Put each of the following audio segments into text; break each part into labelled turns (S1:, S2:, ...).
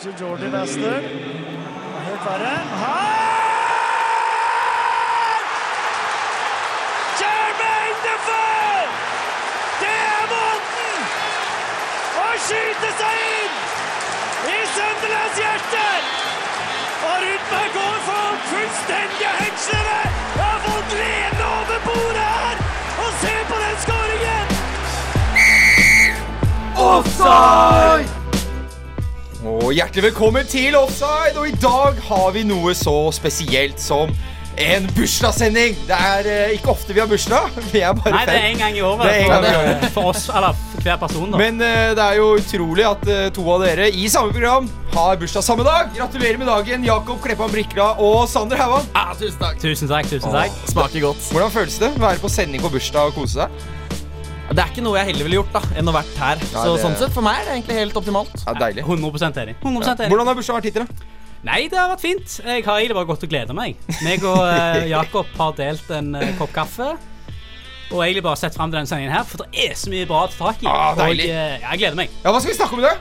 S1: til Jordi Wester. Helt verre. Her! Jermaine Defoe! Det er måten å skyte seg inn i Sunderlands hjerte! Og Rudberg går for fullstendig hengslere! Jeg har fått glede over bordet her! Og se på den skåringen!
S2: Offside! Og hjertelig velkommen til Offside! Og i dag har vi noe så spesielt som en bursdagssending. Det er eh, ikke ofte vi har bursdag. Vi er bare
S3: Nei, det er
S2: fem.
S3: en gang i året.
S2: Det er en gang i
S3: for-
S2: året.
S3: For oss, eller for hver person, da.
S2: Men eh, det er jo utrolig at eh, to av dere i samme program har bursdag samme dag. Gratulerer med dagen, Jakob Kleppan Brikla og Sander Hauan.
S4: Ja, tusen takk.
S3: Ah, Tusen takk. tusen takk.
S4: Smaker godt.
S2: Hvordan føles det å være på sending på bursdag og kose seg?
S4: Det er ikke noe jeg heller ville gjort da, enn å vært her. så
S2: det-
S4: sånn sett, for meg er det egentlig helt optimalt.
S2: Ja, deilig.
S3: 100 enig. 100 enig.
S2: Hvordan har bursdagen vært hittil? da?
S3: Nei, det har vært fint. Jeg har egentlig bare gått og gleda meg. Meg og eh, Jakob har delt en eh, kopp kaffe. Og egentlig bare sett fram til denne sendingen her, for det er så mye bra å ta tak i.
S2: Ah,
S3: og
S2: deilig.
S3: eh, ja, jeg gleder meg.
S2: Ja, Hva skal vi snakke om i dag?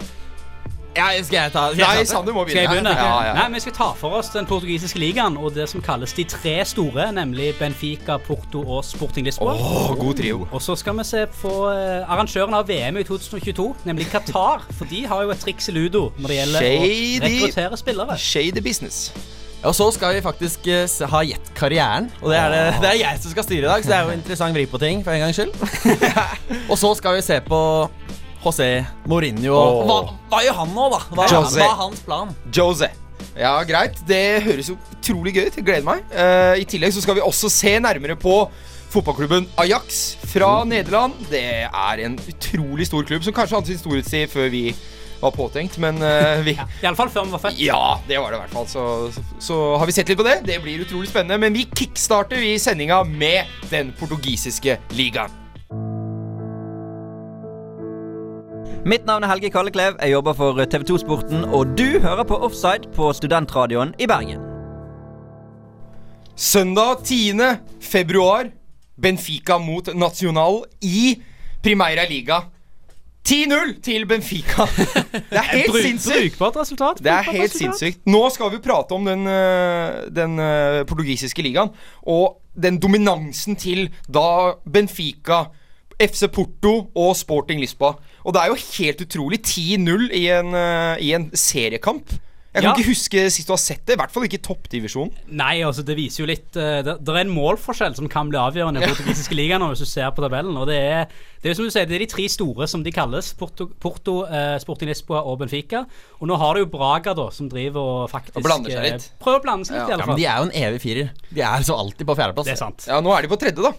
S4: Ja, skal jeg ta
S2: Nei, Sander må
S3: Skal
S2: begynne.
S3: jeg begynne?
S2: Ja, ja.
S3: Nei, Vi skal ta for oss den portugisiske ligaen og det som kalles de tre store, nemlig Benfica, Porto og Sporting Lisboa.
S2: Åh, god trio.
S3: Og så skal vi se på eh, arrangøren av VM i 2022, nemlig Qatar. For de har jo et triks i ludo når det gjelder
S2: Shady.
S3: å rekruttere spillere.
S2: Shady business.
S4: Og så skal vi faktisk eh, s- ha gjett karrieren. Og det er, det, det er jeg som skal styre i dag, så det er jo interessant vri på ting for en gangs skyld. og så skal vi se på José Mourinho.
S2: Åh.
S4: og Hva, hva gjør han nå, da? Hva, er-
S2: José.
S4: hva er hans plan?
S2: Jose. Ja, greit. Det høres jo utrolig gøy ut. Jeg gleder meg. Eh, I tillegg så skal vi også se nærmere på fotballklubben Ajax fra Nederland. Det er en utrolig stor klubb som kanskje hadde sin storhetstid før vi var påtenkt, men eh, vi
S3: Iallfall før vi var født.
S2: Ja, det var det i hvert fall. Så, så, så har vi sett litt på det. Det blir utrolig spennende. Men vi kickstarter vi sendinga med den portugisiske ligaen.
S5: Mitt navn er Helge Kalleklev, jeg jobber for TV2 Sporten, og du hører på Offside på Studentradioen i Bergen.
S2: Søndag 10. februar. Benfica mot Nacional i Primera Liga. 10-0 til Benfica. Det er helt
S3: Bruk-
S2: sinnssykt.
S3: Brukbart resultat.
S2: Det er
S3: brukbart
S2: helt
S3: resultat.
S2: sinnssykt. Nå skal vi prate om den, øh, den øh, portugisiske ligaen og den dominansen til da Benfica, FC Porto og Sporting Lisboa. Og det er jo helt utrolig. 10-0 i, en, øh, i en seriekamp. Jeg kan
S3: Ja.
S2: ikke huske sist du har sett det. I hvert fall ikke i toppdivisjonen.
S3: Nei, altså det viser jo litt eh, Det det er en målforskjell som kan bli avgjørende i den portugisiske ligaen nå, hvis du ser på tabellen. Og det er, det er jo som du sier, det er de tre store som de kalles. Porto, Porto eh, Sporting Lisboa og Benfica. Og nå har du jo Braga, da, som driver og faktisk
S2: Og blander seg
S3: eh,
S2: litt.
S3: Prøver å blande seg litt,
S2: Ja.
S3: i alle
S4: Men
S3: fall.
S4: de er jo en evig firer. De er altså alltid på fjerdeplass.
S3: Det er sant.
S2: Ja, nå er de på tredje, da.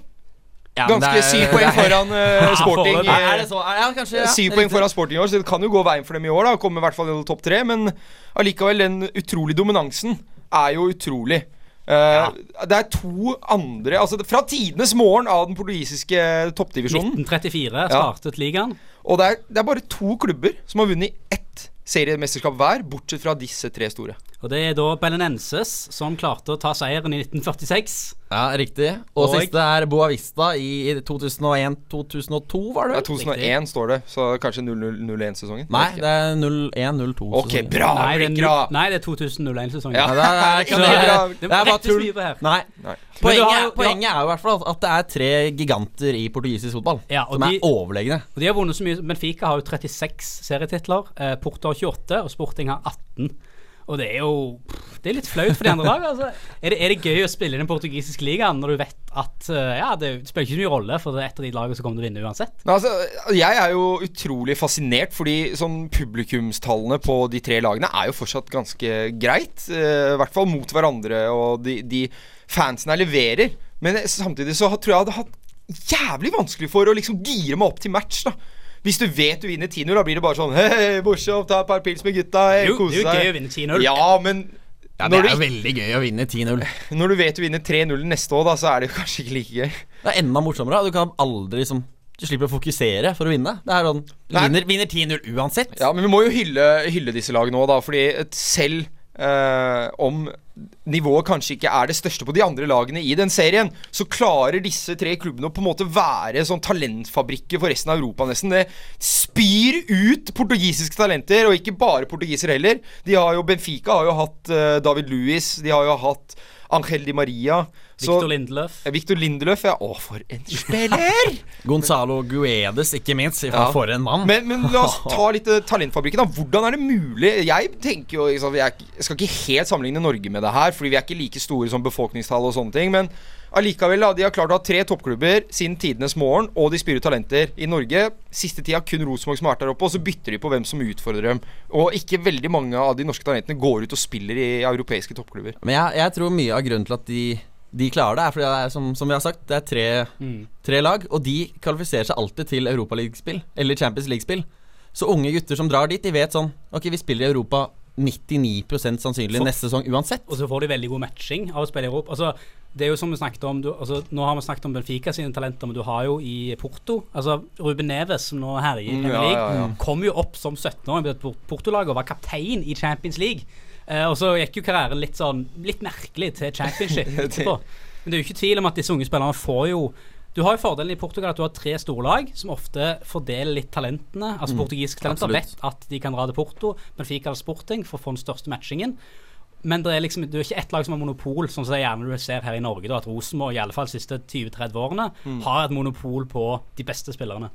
S4: Ja, men
S2: Ganske
S4: det er-
S2: syv poeng
S4: det er-
S2: foran eh, Sporting.
S3: foreløpig.
S4: Er det så? Ja, kanskje.
S2: eh,
S4: Ja.
S2: Syv poeng foran Sporting i år, så det kan jo gå veien for dem i år. da Komme i hvert fall i topp tre, men allikevel, den utrolige dominansen er jo utrolig. Eh, Det er to andre Altså Fra tidenes morgen av den portugisiske toppdivisjonen.
S3: 1934 startet ligaen.
S2: Og det er, det er bare to klubber som har vunnet ett seriemesterskap hver, bortsett fra disse tre store.
S3: Og det er da Belenenses som klarte å ta seieren i 1946.
S4: Ja, riktig. Og,
S3: Og-
S4: siste er Boa Vista i 2001-2002, var det
S2: Det er
S4: vel?
S2: 2001 står det, så kanskje 00-01-sesongen.
S4: Nei, det er 01-02.
S2: Ok, Ah, bra!
S3: Nei, det er,
S2: Blikra.
S3: nu- nei, det er 2001-sesongen.
S2: Ja.
S4: Ja, det er, det er ikke
S2: Det er-
S4: bra.
S2: det
S4: Det er bare
S3: rettes
S4: tull.
S3: mye på her.
S4: Nei.
S2: Nei.
S3: Men du
S4: Poenget,
S3: har
S4: er-
S3: jo-
S4: poenget er jo i hvert fall at det er tre giganter i portugisisk fotball
S3: Ja, og
S4: som
S3: de-
S4: er overlegne.
S3: Og de har vunnet så mye Benfica har jo 36 serietitler. Eh, Porto har 28, og Sporting har 18. Og det er jo pff, Det er litt flaut for de andre lagene. Altså. Er, det, er det gøy å spille i den portugisiske ligaen når du vet at eh, Ja, det spiller ikke så mye rolle, for det er et av de lagene som kommer til å vinne uansett.
S2: Nei, altså, jeg er jo utrolig fascinert, fordi sånn publikumstallene på de tre lagene er jo fortsatt ganske greit. eh, I hvert fall mot hverandre, og de, de fansen her leverer. Men samtidig så tror jeg jeg hadde hatt jævlig vanskelig for å liksom gire meg opp til match, da. Hvis du vet du vinner 10-0, da blir det bare sånn Hei, morsomt, ta et par pils med gutta, hei,
S3: Jo,
S2: kose
S3: det er jo gøy
S2: seg.
S3: å vinne 10-0.
S2: Ja, men
S4: Ja, det
S2: når,
S4: er jo
S2: du,
S4: veldig gøy å vinne 10-0. Det
S2: når du vet du vinner 3-0 neste år, da, så er det jo kanskje ikke like gøy.
S4: er enda morsommere. Du kan aldri liksom Du slipper å fokusere for å vinne. Det er sånn Du
S2: Nei.
S4: vinner, vinner 10-0 uansett.
S2: Ja, men vi må jo hylle, hylle disse lagene òg, da. Fordi et- selv eh, om nivået kanskje ikke er det største på de andre lagene i den serien, så klarer disse tre klubbene å på en måte være sånn talentfabrikker for resten av Europa, nesten. Det spyr ut portugisiske talenter, og ikke bare portugiser heller. De har jo, Benfica har jo hatt eh, David Luiz, de har jo hatt Angel Di Maria. Så-
S3: Victor Lindeløf.
S2: Eh, Victor Lindeløf, ja. Å, for en spiller!
S4: Gonzalo Guedes, ikke minst. i
S2: Ja.
S4: faen, For en mann.
S2: Men, men la oss ta litt eh, Talentfabrikken. da Hvordan er det mulig? Jeg tenker jo ikke sant, jeg er ikke- jeg skal ikke helt sammenligne Norge med det her, Fordi vi er ikke like store som befolkningstall og sånne ting. Men allikevel, da. De har klart å ha tre toppklubber siden tidenes morgen, og de spyr ut talenter i Norge. Siste tida kun Rosenborg som har vært der oppe, og så bytter de på hvem som utfordrer dem. Og ikke veldig mange av de norske talentene går ut og spiller i europeiske toppklubber.
S4: Men jeg, jeg tror mye av grunnen til at de, de klarer det, er fordi det er som, som vi har sagt, det er tre, tre lag, og de kvalifiserer seg alltid til Europaligaspill eller Champions League-spill. Så unge gutter som drar dit, de vet sånn Ok, vi spiller i Europa 99 sannsynlig
S3: Så-
S4: neste sesong uansett.
S3: Og så får de veldig god matching av å spille i Europa. Altså, det er jo som vi snakket om du, altså, Nå har vi snakket om Benfica sine talenter, men du har jo i Porto altså Ruben Neves, som nå herjer i
S2: Mm,
S3: Premier
S2: ja, ja,
S3: League,
S2: ja.
S3: kom jo opp som 17-åring på et Por- Porto-lag og var kaptein i Champions League. Eh, og så gikk jo karrieren litt sånn litt merkelig til championship etterpå. Men det er jo ikke tvil om at disse unge spillerne får jo Du har jo fordelen i Portugal at du har tre storlag som ofte fordeler litt talentene. Altså
S2: Mm,
S3: Portugisiske talenter
S4: absolutt.
S3: vet at de kan dra til Porto, Benfica eller Sporting for å få den største matchingen. Men det er liksom det er ikke ett lag som har monopol, sånn som det gjerne du ser her i Norge. da, At Rosenborg i alle fall de siste 20-30 årene har et monopol på de beste spillerne.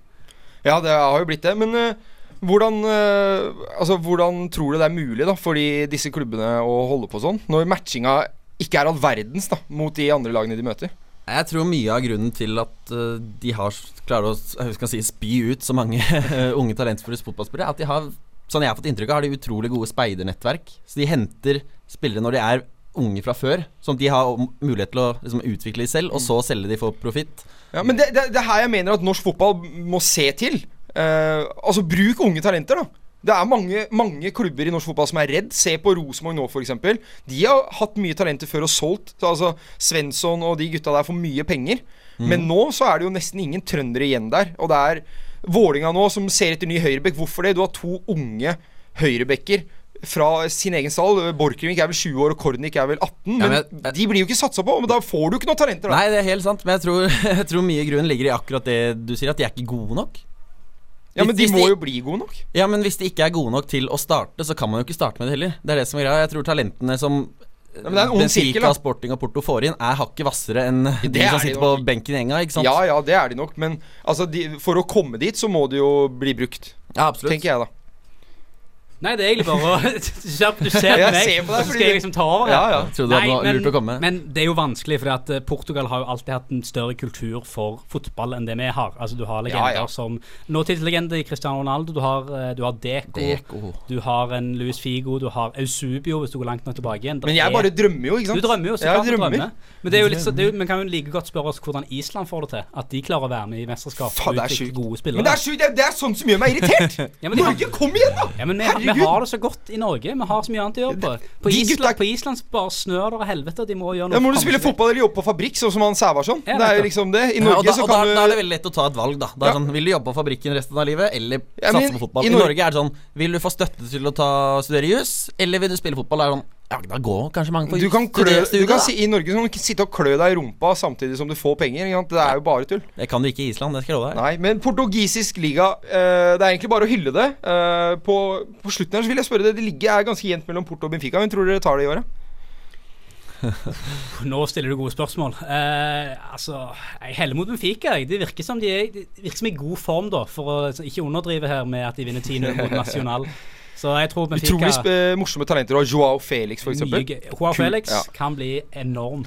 S2: Ja, det har jo blitt det. Men eh, hvordan, eh, altså, hvordan tror du det er mulig da, for de- disse klubbene å holde på sånn? Når matchinga ikke er all verdens da, mot de andre lagene de møter.
S4: Jeg tror mye av grunnen til at eh, de har s- klarer å s- jeg skal si, spy ut så mange unge talentfulle fotballspillere, er at de har, sånn jeg har fått inntrykk av, har de utrolig gode speidernettverk. Så de henter spillere når de er unge fra før, som de har om- mulighet til å liksom, utvikle selv, og så selge de for profitt.
S2: Ja, men det, det, det er her jeg mener at norsk fotball må se til. Eh, altså, bruk unge talenter, da. Det er mange, mange klubber i norsk fotball som er redd. Se på Rosenborg nå, f.eks. De har hatt mye talenter før og solgt. Så, altså, Svensson og de gutta der får mye penger.
S4: Mm.
S2: Men nå så er det jo nesten ingen trøndere igjen der. Og det er Vålinga nå som ser etter ny høyrebekk. Hvorfor det? Du har to unge høyrebekker fra sin egen stall. Borchgrevink er vel 20 år, og Kornik er vel 18. Men,
S4: men jeg-
S2: de blir jo ikke satsa på, men da får du ikke noen talenter. da
S4: Nei, det er helt sant, men jeg tror, jeg tror mye grunn ligger i akkurat det du sier, at de er ikke gode nok.
S2: Ja, Men de
S4: Hvis- hvis
S2: må
S4: de-
S2: jo bli gode nok.
S4: Ja, men hvis de ikke er gode nok til å starte, så kan man jo ikke starte med det heller. Det er det som er greia. Jeg tror talentene som
S2: Ja,
S4: eh,
S2: men det er en ond sirkel, da.
S4: Benfica, Sporting og Porto får inn, er hakket hvassere enn de
S2: er
S4: som
S2: de
S4: sitter på
S2: nok.
S4: benken i enga, ikke sant?
S2: Ja, ja, det er de nok, men altså, de, for å komme dit så må det jo bli brukt,
S4: Ja, absolutt.
S2: tenker jeg da.
S3: Nei, det er egentlig bare å Du ser du ser på
S2: Jeg
S3: meg,
S2: ser på deg
S3: så
S2: fordi
S3: skal jeg
S2: du-
S3: liksom ta over. her.
S2: Ja, ja.
S4: Trodde du hadde
S3: Nei,
S4: noe
S3: men-
S4: lurt å komme med.
S3: Men det er jo vanskelig, fordi at eh, Portugal har jo alltid hatt en større kultur for fotball enn det vi har. Altså Du har legender
S2: ja.
S3: som nåtidslegende i Cristiano Ronaldo, du har, eh, du har Deco,
S4: Deco.
S3: du har en Luis Figo, du har Eusubio, hvis du går langt nok tilbake igjen. Det
S2: Men
S3: er-
S2: jeg bare drømmer jo, ikke
S3: du
S2: sant?
S3: drømmer jo, så
S2: Jeg
S3: klart du
S2: drømmer. Mm.
S3: drømmer. Men det er jo litt så, det er jo, vi kan jo like godt spørre oss hvordan Island får det til. At de klarer å være med i mesterskap
S2: Faen,
S3: og
S2: det er
S3: utvikle
S2: sjukt.
S3: gode spillere.
S2: Men det er, sjukt, det, er, det er sånt som gjør meg irritert!
S3: Ja, men de har-
S2: Norge, kom igjen, da!
S3: Ja, men vi, vi
S2: Herregud.
S3: har det så godt i Norge. Vi har så mye annet å gjøre på. På,
S2: De
S3: Island,
S2: gutta-
S3: på Island så bare snør det og helvete. De må gjøre noe.
S2: Da må du spille
S3: framskritt.
S2: fotball eller jobbe på fabrikk, sånn som han Sævarsson.
S3: Ja,
S2: Det er jo
S3: nettopp.
S2: liksom det. I
S4: Ja, og
S2: Norge
S4: da,
S2: så
S4: og da,
S2: kan
S4: da er det
S2: du
S4: veldig lett å ta et valg, da. Da
S2: Ja.
S4: er det sånn, Vil du jobbe på fabrikken resten av livet, eller
S2: Ja, men
S4: satse på fotball?
S2: i
S4: I
S2: Nor-
S4: Norge er det sånn Vil du få støtte til å ta, studere jus, eller vil du spille fotball? Da er det sånn Ja, da går kanskje mange på
S2: du
S4: jus.
S2: kan, klø,
S4: Studere-
S2: du
S4: studie,
S2: kan
S4: da.
S2: si, I Norge kan du ikke sitte og klø deg i rumpa samtidig som du får penger. Ikke sant? Det er jo bare tull.
S4: Det kan du ikke i Island, det skal jeg love deg.
S2: Nei, men portugisisk liga eh, Det er egentlig bare å hylle det. Eh, på, på slutten her så vil jeg spørre deg Det ligger er ganske jevnt mellom Porto og Benfica. Hvem tror dere tar det i året?
S3: Nå stiller du gode spørsmål. Eh, altså, jeg heller mot Benfica. jeg. Det virker som de er, det virker som i god form, da. For å altså, ikke underdrive her med at de vinner 10-0 mot Nacional. Så jeg tror Benfica
S2: Utrolig sp eh, morsomme talenter. Og Joao Felix, for
S3: mye
S2: eksempel.
S3: gøy. Joao
S2: Kul,
S3: Felix
S2: ja.
S3: kan bli enorm.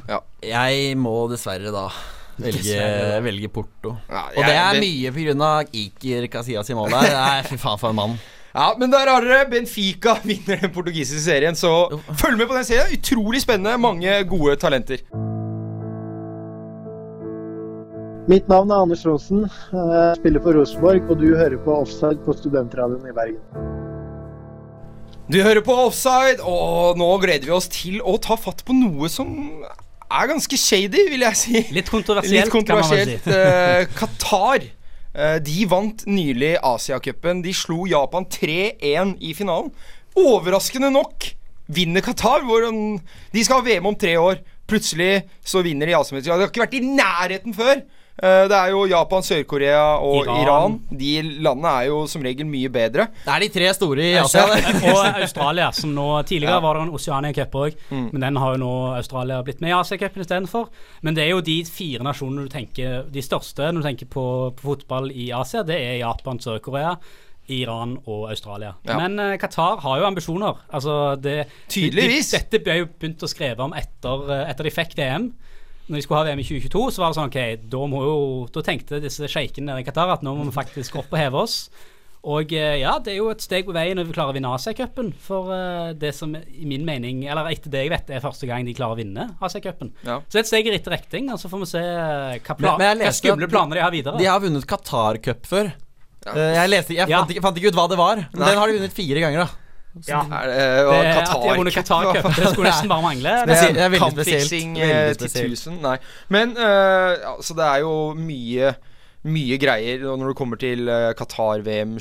S4: Jeg må dessverre da velge,
S3: Dessverre, da.
S4: velge Porto.
S2: Ja,
S4: Og det er
S2: jeg-
S4: mye pga. Iker Casillas i mål der. Nei, fy faen for en mann.
S2: Ja, men der har dere Benfica vinner den portugisiske serien, så følg med på den serien. Utrolig spennende. Mange gode talenter.
S6: Mitt navn er Anders Aasen. Jeg spiller for Rosenborg, og du hører på Offside på Studentradioen i Bergen.
S2: Du hører på Offside, og nå gleder vi oss til å ta fatt på noe som er ganske shady, vil jeg si.
S3: Litt kontroversielt,
S2: Litt kontroversielt.
S3: kan man vel si.
S2: Eh, Qatar eh, de vant nylig Asiacupen. De slo Japan 3-1 i finalen. Overraskende nok vinner Qatar. Hvordan de skal ha VM om tre år. Plutselig så vinner de Asiamesterskapet. De har ikke vært i nærheten før! Eh, Det er jo Japan, Sør-Korea og
S3: Iran.
S2: Iran. De landene er jo som regel mye bedre.
S4: Det er de tre store i Asia. det.
S3: Og Australia, som nå Tidligere
S2: Ja. Mm.
S3: var det en Oceania-cup òg, men den har jo nå Australia blitt med i Asia-cupen istedenfor. Men det er jo de fire nasjonene du tenker de største når du tenker på, på fotball i Asia. Det er Japan, Sør-Korea, Iran og Australia.
S2: Ja.
S3: Men eh, Qatar har jo ambisjoner. Altså det,
S2: Tydeligvis.
S3: De, dette ble jo begynt å skrive om etter, eh, etter de fikk VM. Når de skulle ha VM i 2022, så var det sånn OK, da, må jo, da tenkte disse sjeikene nede i Qatar at nå må vi faktisk opp og heve oss. Og eh, ja, det er jo et steg på veien når vi klarer å vinne Asia-cupen. For eh, det som i min mening, eller etter det jeg vet, er første gang de klarer å vinne Asia-cupen.
S2: Ja.
S3: Så det er et steg i rett retning. Og så får vi se eh, hva, plan,
S4: Men- men jeg
S3: hva
S4: leste at
S3: skumle planer de har videre.
S4: De har vunnet Qatar Cup før. Eh, Jeg, leste, jeg
S3: Ja.
S4: fant, ikke, fant ikke ut hva det var. Men
S2: Nei.
S4: Den har de vunnet fire ganger, da.
S2: Er det, og
S3: det, at de har vunnet
S2: Qatar-cup, hva
S3: Qatar-cup, det skulle nesten bare mangle.
S4: Det er-
S2: Det
S4: det er
S2: er
S4: veldig
S2: kampfiksing
S4: spesielt. Veldig
S2: eh, til
S4: spesielt.
S2: 1000. Nei. Men eh, altså, det er jo mye mye greier og når det kommer til eh, Qatar-VM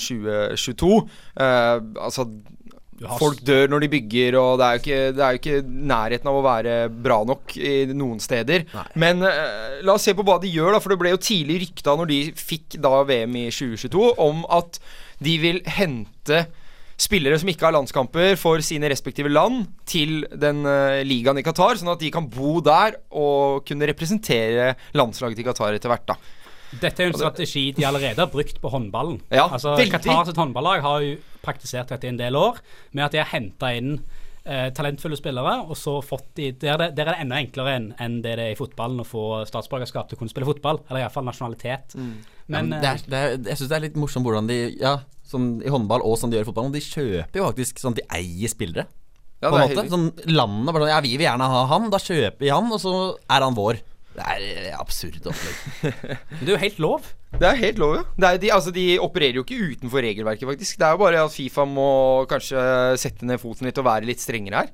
S2: 2022. Eh, altså,
S3: Du har s-
S2: folk dør når de bygger, og det er, jo ikke, det er jo ikke nærheten av å være bra nok i noen steder. Men eh, la oss se på hva de gjør, da, for det ble jo tidlig rykta når de fikk da VM i 2022, om at de vil hente spillere som ikke har landskamper for sine respektive land, til den eh, ligaen i Qatar, sånn at de kan bo der og kunne representere landslaget til Qatar etter hvert, da.
S3: Dette er jo en strategi de allerede har brukt på håndballen.
S2: Ja,
S3: altså,
S2: veldig.
S3: Qatar sitt håndballag har jo praktisert dette i en del år, med at de har henta inn eh, talentfulle spillere, og så fått de Der, er det- der er det enda enklere enn enn det det er i fotballen å få statsborgerskap til å kunne spille fotball, eller iallfall nasjonalitet.
S2: Mm.
S3: Men,
S4: Men det
S3: eh,
S4: er, det er, jeg syns det er litt morsomt hvordan de Ja, som i håndball og som de gjør i fotballen. De kjøper jo faktisk sånn at de eier spillere.
S2: Ja,
S4: på en
S2: det er
S4: måte.
S2: helt-
S4: Sånn, landene bare sånn Ja, vi vil gjerne ha han. Da kjøper vi han, og så er han vår. Det er eh, absurd opplegg.
S3: det er jo helt lov.
S2: Det er helt lov, ja. Det er, de, altså, de opererer jo ikke utenfor regelverket, faktisk. Det er jo bare at Fifa må kanskje sette ned foten litt og være litt strengere her.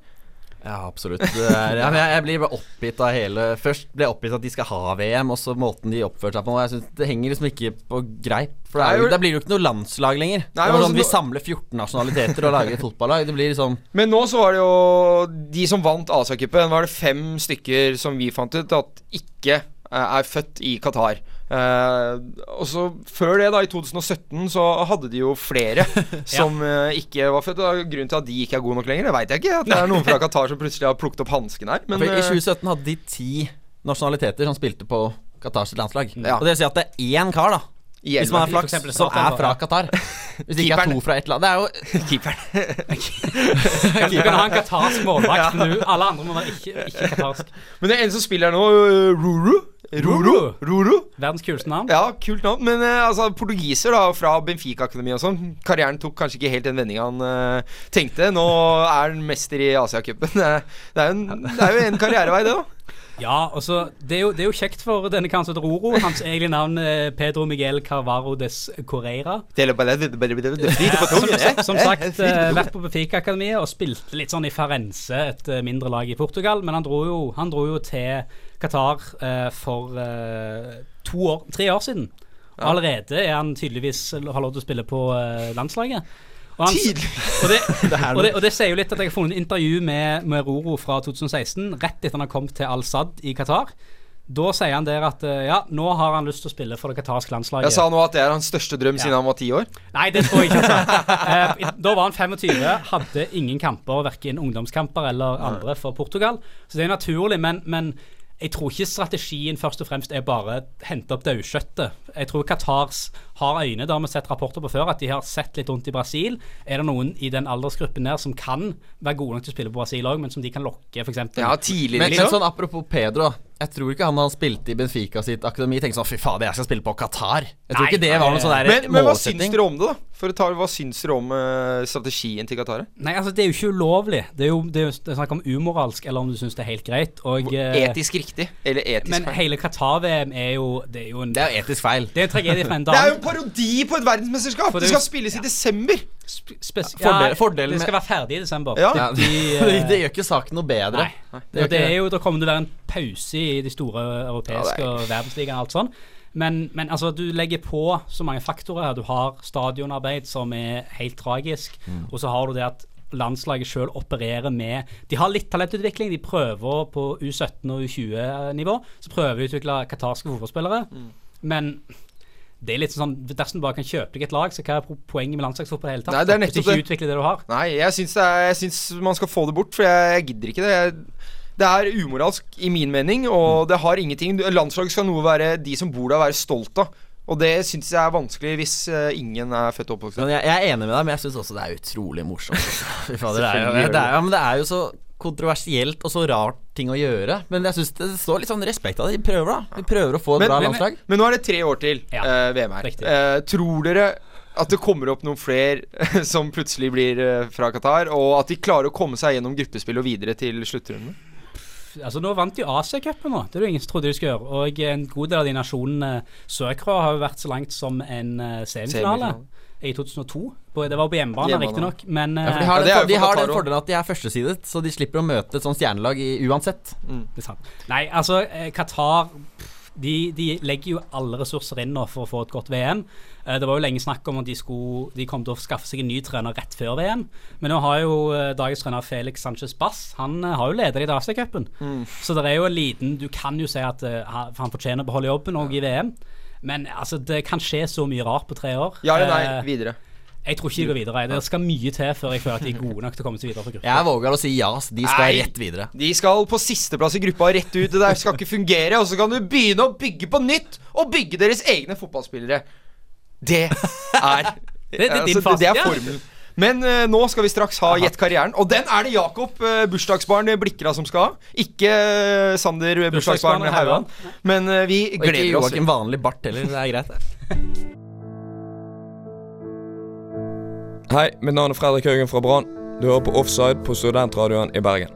S4: Ja, absolutt. Det er, ja, men jeg, jeg blir bare oppgitt av hele Først ble jeg oppgitt at de skal ha VM, og så måten de oppførte seg på nå. Jeg synes Det henger liksom ikke på greip. For det
S2: Nei,
S4: er jo,
S2: jo-
S4: da blir det jo ikke noe landslag lenger.
S2: Nei,
S4: det er
S2: altså,
S4: sånn, vi
S2: nå-
S4: samler 14 nasjonaliteter og lager et fotballag. Det blir liksom
S2: Men nå så var det jo de som vant Asia-cupen. Var det fem stykker som vi fant ut at ikke eh, er født i Qatar. Eh, og så Før det, da, i 2017, så hadde de jo flere som eh, ikke var født. Og grunnen til at de ikke er gode nok lenger, det veit jeg ikke. At det er noen fra Qatar som plutselig har plukket opp hansken her. Men
S4: For I
S2: eh,
S4: 2017 hadde de ti nasjonaliteter som spilte på Qatars landslag.
S2: Ja.
S4: Og det vil si at det er én kar, da.
S2: i
S4: Hvis man
S2: Irland-
S4: er
S3: For eksempel
S4: flaks, som
S3: Zlatan,
S4: er
S3: da.
S4: fra Qatar. Hvis det ikke er
S2: Keeperen.
S4: to fra et land. Det er jo
S2: Keeperen.
S3: Du kan ha en qatarsk målvakt, men du- alle andre må være ikke, ikke qatarsk.
S2: Men det er en som spiller her nå, eh, Ruru. Ruru. Ruru.
S3: Verdens kuleste navn.
S2: Ja, kult navn. Men eh, altså, portugiser da, fra Benfica-akademi og sånn. Karrieren tok kanskje ikke helt den vendinga han eh, tenkte. Nå er han mester i Asiacupen. Eh, Det, er jo en- det er jo en karrierevei, det, da.
S3: Ja, altså, det er, jo, det er jo kjekt for denne karen som heter Roro. Hans egentlige navn er Pedro Miguel Carvaro des Correira. Som, som sagt, eh, vært på Benfica-akademiet og spilte litt sånn i Farense, et eh, mindre lag i Portugal. Men han dro jo, han dro jo til Qatar eh, for eh, to år, tre år siden. Og allerede er han tydeligvis har lov til å spille på eh, landslaget. Og han- og det, og, det, og det sier jo litt at jeg har funnet et intervju med, med Roro fra 2016, rett etter han har kommet til Al-Sad i Qatar. Da sier han der at eh, ja, nå har han lyst til å spille for det qatarske landslaget.
S2: Jeg sa nå at det er hans største drøm siden han var ti år.
S3: Nei, det tror jeg ikke. Altså. Eh, i- da var han 25, hadde ingen kamper, verken ungdomskamper eller andre for Portugal. Så det er naturlig, men, men jeg tror ikke strategien først og fremst er bare hente opp daukjøttet. Jeg tror Qatars har øyne, det har vi sett rapporter på før, at de har sett litt rundt i Brasil. Er det noen i den aldersgruppen der som kan være gode nok til å spille på Brasil òg, men som de kan lokke, f.eks.?
S2: Ja, tidligere,
S4: men, men
S2: liksom.
S4: sånn apropos Pedro, da. Jeg tror ikke han da han spilte i Benfica sitt akademi, tenkte sånn Fy fader, jeg skal spille på Qatar. Jeg tror
S3: Nei,
S4: ikke det var noen sånn der
S2: Men, men hva syns
S4: målsetting.
S2: dere om det, da? For å ta, Hva syns dere om eh, strategien til Qatar?
S3: Nei, altså, det er jo ikke ulovlig. Det er jo det er jo det er snakk om umoralsk, eller om du syns det er helt greit. Og, eh,
S2: Etisk riktig? Eller etisk
S3: Men hele Qatar-VM er jo Det er jo en,
S4: Det er jo etisk feil.
S3: det er en tragedie for en
S2: Det er jo
S3: dag.
S2: en parodi på et verdensmesterskap!
S3: For
S2: Det
S3: det er
S2: skal
S3: jo-
S2: spilles i desember!
S3: Sp- spes-
S4: Fordel- fordelen
S3: det skal
S4: med-
S3: være ferdig i desember.
S2: Ja.
S4: Ja, det,
S3: eh,
S4: det gjør ikke saken noe bedre.
S3: Nei.
S4: Det gjør
S3: Og det
S4: ikke
S3: er
S4: det.
S3: jo, da kommer det til å være en pause i de store europeiske og verdensligaene og alt sånn. Men, men altså, du legger på
S2: Mm.
S3: så mange faktorer her. Du har stadionarbeid, som er helt tragisk. Og så har du det at landslaget sjøl opererer med De har litt talentutvikling. De prøver på U17- og U20-nivå. Så prøver de å utvikle qatarske fotballspillere.
S2: Mm.
S3: Men det er litt sånn dersom du bare kan kjøpe deg et lag, så hva er pro- poenget med landslagsfotball i det hele tatt?
S2: Nei, det er
S3: Hvis du
S2: nettopp
S3: ikke utvikler det du har.
S2: Nei, jeg syns, det er, jeg syns man skal få det bort, for jeg, jeg gidder ikke det. Jeg, det er umoralsk i min mening,
S3: Mm.
S2: og det har ingenting du- Landslaget skal noe være de som bor der, være stolt av. Og det syns jeg er vanskelig hvis eh, ingen er født og oppvokst der.
S4: Men jeg, jeg er enig med deg, men jeg syns også det er utrolig morsomt. Fy fader, det, er jo,
S2: Selvfølgelig gjør det
S4: det, er, ja, men det er jo så kontroversielt og så rart ting å gjøre. Men jeg syns det står litt sånn respekt av det. De prøver, da. De prøver å få et
S2: Men-
S4: bra
S2: men-
S4: landslag.
S2: Men nå er det tre år til
S3: Ja,
S2: eh, VM her.
S3: riktig.
S2: Eh, tror dere at det kommer opp noen flere som plutselig blir eh, fra Qatar, og at de klarer å komme seg gjennom gruppespill og videre til sluttrunden?
S3: Altså Nå vant jo Asia-cupen, nå. Det er det jo ingen som trodde de skulle gjøre. Og eh, en god del av de nasjonene sørfra har jo vært så langt som en eh, semifinale
S2: Semifinale.
S3: i 2002. På, det var på hjemmebane,
S2: Hjemmebane.
S3: riktignok, men
S4: Ja, for
S3: eh,
S4: de
S2: Ja,
S4: har,
S2: det er jo
S4: den, de
S2: for
S4: har
S2: Qatar
S4: den fordelen at de er førstesidet, så de slipper å møte et sånt stjernelag i, uansett.
S3: det er sant. Nei, altså, eh, Qatar pff, de, de legger jo alle ressurser inn nå for å få et godt VM. Eh, Det var jo lenge snakk om at de, skulle, de kom til å skaffe seg en ny trener rett før VM. Men nå har jo eh, dagens trener Felix Sanchez Bass Han eh, har jo ledet i Asia-cupen.
S2: Mm.
S3: Så det er jo en liten Du kan jo si at eh, han han fortjener å beholde jobben òg i VM. Men altså, det kan skje så mye rart på tre år.
S2: Ja eller
S3: Eh,
S2: nei? Videre.
S3: Jeg tror ikke de går videre. Det skal mye til før jeg føler at de er gode nok til å komme seg videre fra gruppa.
S4: Jeg våger å si ja, så de skal
S2: Nei.
S4: rett videre.
S2: De skal på sisteplass i gruppa rett ut. Det der skal ikke fungere. Og så kan du begynne å bygge på nytt, og bygge deres egne fotballspillere. Det er Altså,
S3: det er din
S2: det, det er
S3: fasit, ja.
S2: formelen. Men eh, nå skal vi straks ha Gjett karrieren, og den er det Jakob, eh, bursdagsbarn Blikra, som skal ha. Ikke eh, Sander, eh, bursdagsbarn
S3: Bursdagsbarn
S2: Haugan. Men eh, vi
S4: Og ikke
S2: gleder oss.
S4: Joakim Vanlig Bart heller, det er greit. det.
S7: Hei, mitt navn er Fredrik Haugen fra Brann. Du hører på Offside på Studentradioen i Bergen.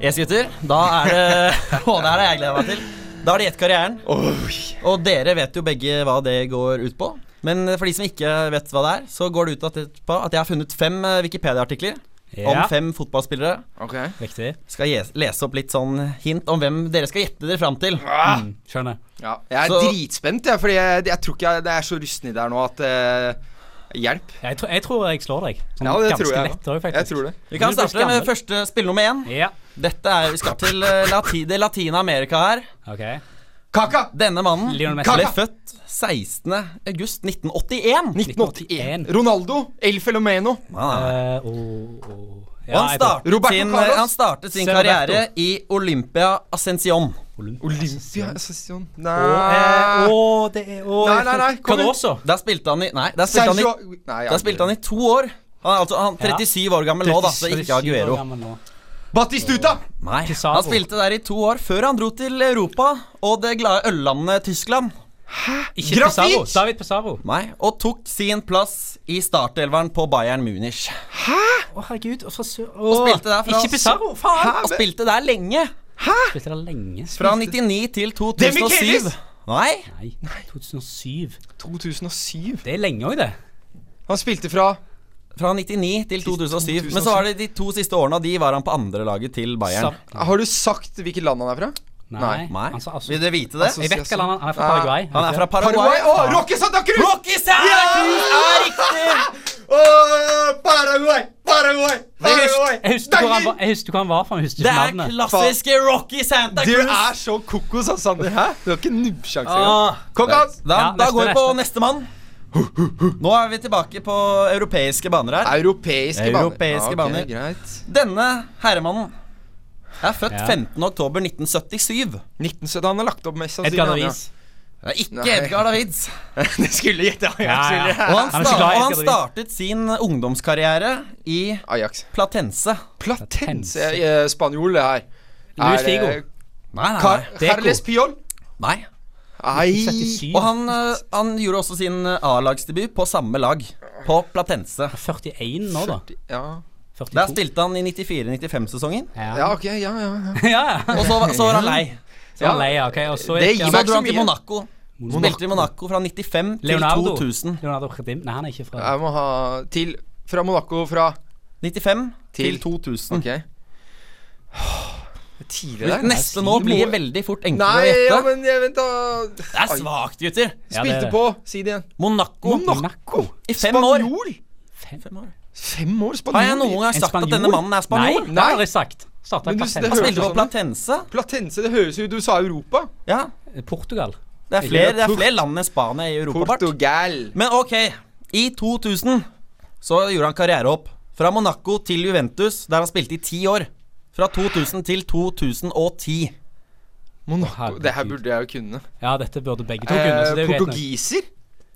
S4: Yes, gutter. Da er det Å, det her har jeg gleda meg til. Da er det Gjett karrieren.
S2: Oi.
S4: Og dere vet jo begge hva det går ut på. Men for de som ikke vet hva det er, så går det ut at- på at jeg har funnet fem eh, Wikipedia-artikler om
S3: Ja,
S4: fem fotballspillere.
S2: Ok.
S3: riktig.
S4: Skal jeg lese opp litt sånn hint om hvem dere skal gjette dere fram til.
S2: Ah,
S3: Mm, skjønner.
S2: ja. Jeg er
S4: Så-
S2: dritspent, jeg, fordi jeg, jeg tror ikke jeg, det er så rusten i det her nå at eh, Hjelp.
S3: Jeg, tror- jeg tror jeg slår deg. Sånn
S2: Ja, det tror
S3: ganske
S2: jeg,
S3: lett òg,
S2: Jeg
S3: faktisk.
S2: tror det.
S4: Vi kan
S3: Du blir
S4: starte med
S3: gammel.
S4: første spill nummer én.
S3: Ja,
S4: Dette er, Vi skal til eh, Lati, det latine Amerika her.
S3: ok.
S2: Kaka!
S4: Denne mannen
S3: Lionel Messi.
S4: ble født 16. august 1981.
S2: 1981. Ronaldo. El Felomeno.
S4: Han er-
S3: Eh, og- og-
S4: Og
S3: ja,
S4: han,
S3: jeg
S4: startet
S2: Roberto
S4: sin,
S2: Carlos.
S4: han startet sin
S3: Roberto.
S4: karriere i Olympia Ascension.
S3: tror Olympia-
S2: Olympia Association
S3: Å, eh,
S2: Nei
S3: å, det er å,
S2: Nei, nei, nei, kom igjen.
S3: Cardoso.
S4: Der spilte han i Nei, der spilte han i
S2: Sergio Nei,
S4: Da spilte han i to år. Han er altså han er 37 år gammel nå, da, så ikke
S3: 37 år
S4: Aguero.
S3: gammel nå.
S2: Batistuta!
S4: Nei,
S3: Pizarro.
S4: Han spilte der i to år før han dro til Europa og det glade øllandet Tyskland.
S3: Ikke
S2: Grafik!
S3: Pizarro. David Pizarro.
S4: Nei, Og tok sin plass i startelveren på Bayern Munich.
S3: Å, herregud. Og, fra sør-
S4: Og spilte der fra
S3: Ikke Pizarro, faen!
S4: Og spilte der lenge.
S3: Spilte der lenge.
S4: Fra 99 til
S2: Demichelis!
S4: 2007. Nei,
S3: Nei, 2007.
S2: 2007.
S3: Det er lenge òg, det.
S2: Han spilte fra
S4: fra 99 til 2007.
S2: 2007.
S4: Men så var det de to siste årene, og de var han på andrelaget til Bayern.
S3: Sam-
S2: Har du sagt hvilket land han er fra?
S3: Nei.
S4: Nei,
S3: Han sa altså,
S4: Vil dere vite det?
S3: jeg vet ikke hva land han han er fra
S2: Ah,
S3: Paraguay.
S4: Han er fra
S2: Paraguay?
S4: Altså- Paraguay.
S2: Å, Rocky Santa Cruz!
S4: Rocky Sanders er riktig!
S2: Å, Paraguay! Paraguay! Paraguay!
S3: Jeg husker hvor han var, jeg husker hvor han var fra, men jeg husker
S4: Det
S3: ikke
S4: er
S3: navnet.
S4: klassiske Rocky Santa
S2: Du
S4: Cruz.
S2: er så kokos, altså, Sander. Hæ? Du har ikke nubbsjanse engang.
S4: Ah.
S2: Kom,
S4: Da,
S2: Hans.
S4: da,
S3: Ja,
S4: da
S3: neste,
S4: går vi på neste mann. Nå er vi tilbake på europeiske baner
S3: Ah.
S4: her.
S2: Europeiske baner. Ja,
S4: Europeiske
S2: ok,
S4: baner.
S2: Greit.
S4: Denne herremannen er født
S3: Ja.
S4: 15.10.1977.
S2: 1970 Han har lagt opp mest
S3: Edgar
S2: han, ja.
S3: Davies.
S4: Det er ikke
S2: Nei.
S4: Edgar Davids.
S2: Det skulle gjette Ajax.
S3: Ja, ja.
S2: eller?
S4: Og han,
S3: Han er
S4: sta
S3: så glad i
S4: og han
S3: Edgar Davids.
S4: startet sin ungdomskarriere i
S2: Ajax.
S4: Platense.
S2: Platense eh, spanjol, det her.
S3: Luis
S2: Er,
S3: Figo.
S2: eh,
S4: Nei, nei,
S2: Car
S3: Deco.
S2: Carles Piol.
S4: nei.
S2: Nei
S3: 77.
S4: Og han, eh, han gjorde også sin eh, A-lagsdebut på samme lag, på Platense.
S3: 41 nå, da.
S2: ja.
S4: Der
S3: 42.
S4: spilte han i 94-95-sesongen,
S2: ja, ok. Ja, ja. ja.
S3: ja, ja.
S4: og så, var- så var han lei.
S3: Så var han lei, ja, ok. Og så
S2: Det
S3: gikk
S2: gir
S4: Så
S3: han
S2: meg-
S4: dro han til
S2: mye.
S4: Monaco. Spilte i Monaco fra 95 til
S3: Leonardo.
S4: 2000.
S3: Leonardo Khadim. Nei, han er ikke fra
S2: Jeg må ha til Fra Monaco, fra
S4: Mm. 95 til
S2: Til-
S4: 2000.
S2: Ok. Det er tidlig der.
S4: Neste nå blir veldig fort enklere
S2: Nei,
S4: å
S2: ja,
S4: gjette.
S2: men jeg, vent, da.
S4: Det er svakt,
S3: Ja, det
S4: gutter.
S3: er
S2: Spilte
S3: det.
S2: på. Si det igjen.
S4: Monaco
S2: Monaco.
S4: i fem år.
S2: Spanjol.
S3: Fem-
S4: Fem år.
S2: Fem år spanjol?
S4: Har jeg noen gang
S3: En
S4: sagt at
S3: spanjol?
S4: denne mannen er spanjol?
S3: Nei, det
S2: Nei.
S3: har jeg aldri sagt. Starta
S2: Men du- det
S4: Han
S2: hører-
S3: Platense.
S4: spilte for Platense.
S2: Platense, det høres jo ut Du sa Europa.
S4: Ja,
S3: Portugal.
S4: det er flere, det er flere land enn Spania i Europa. Bart.
S2: Portugal.
S4: Men ok, i 2000 så gjorde han karriere opp. Fra Monaco til Juventus, der han spilte i ti år. Fra 2000 til 2010.
S2: Monaco.
S3: herregud.
S2: Det her burde jeg jo kunne.
S3: Ja, dette burde begge to kunne. så
S2: Eh,
S3: det er jo greit nok.
S2: portugiser?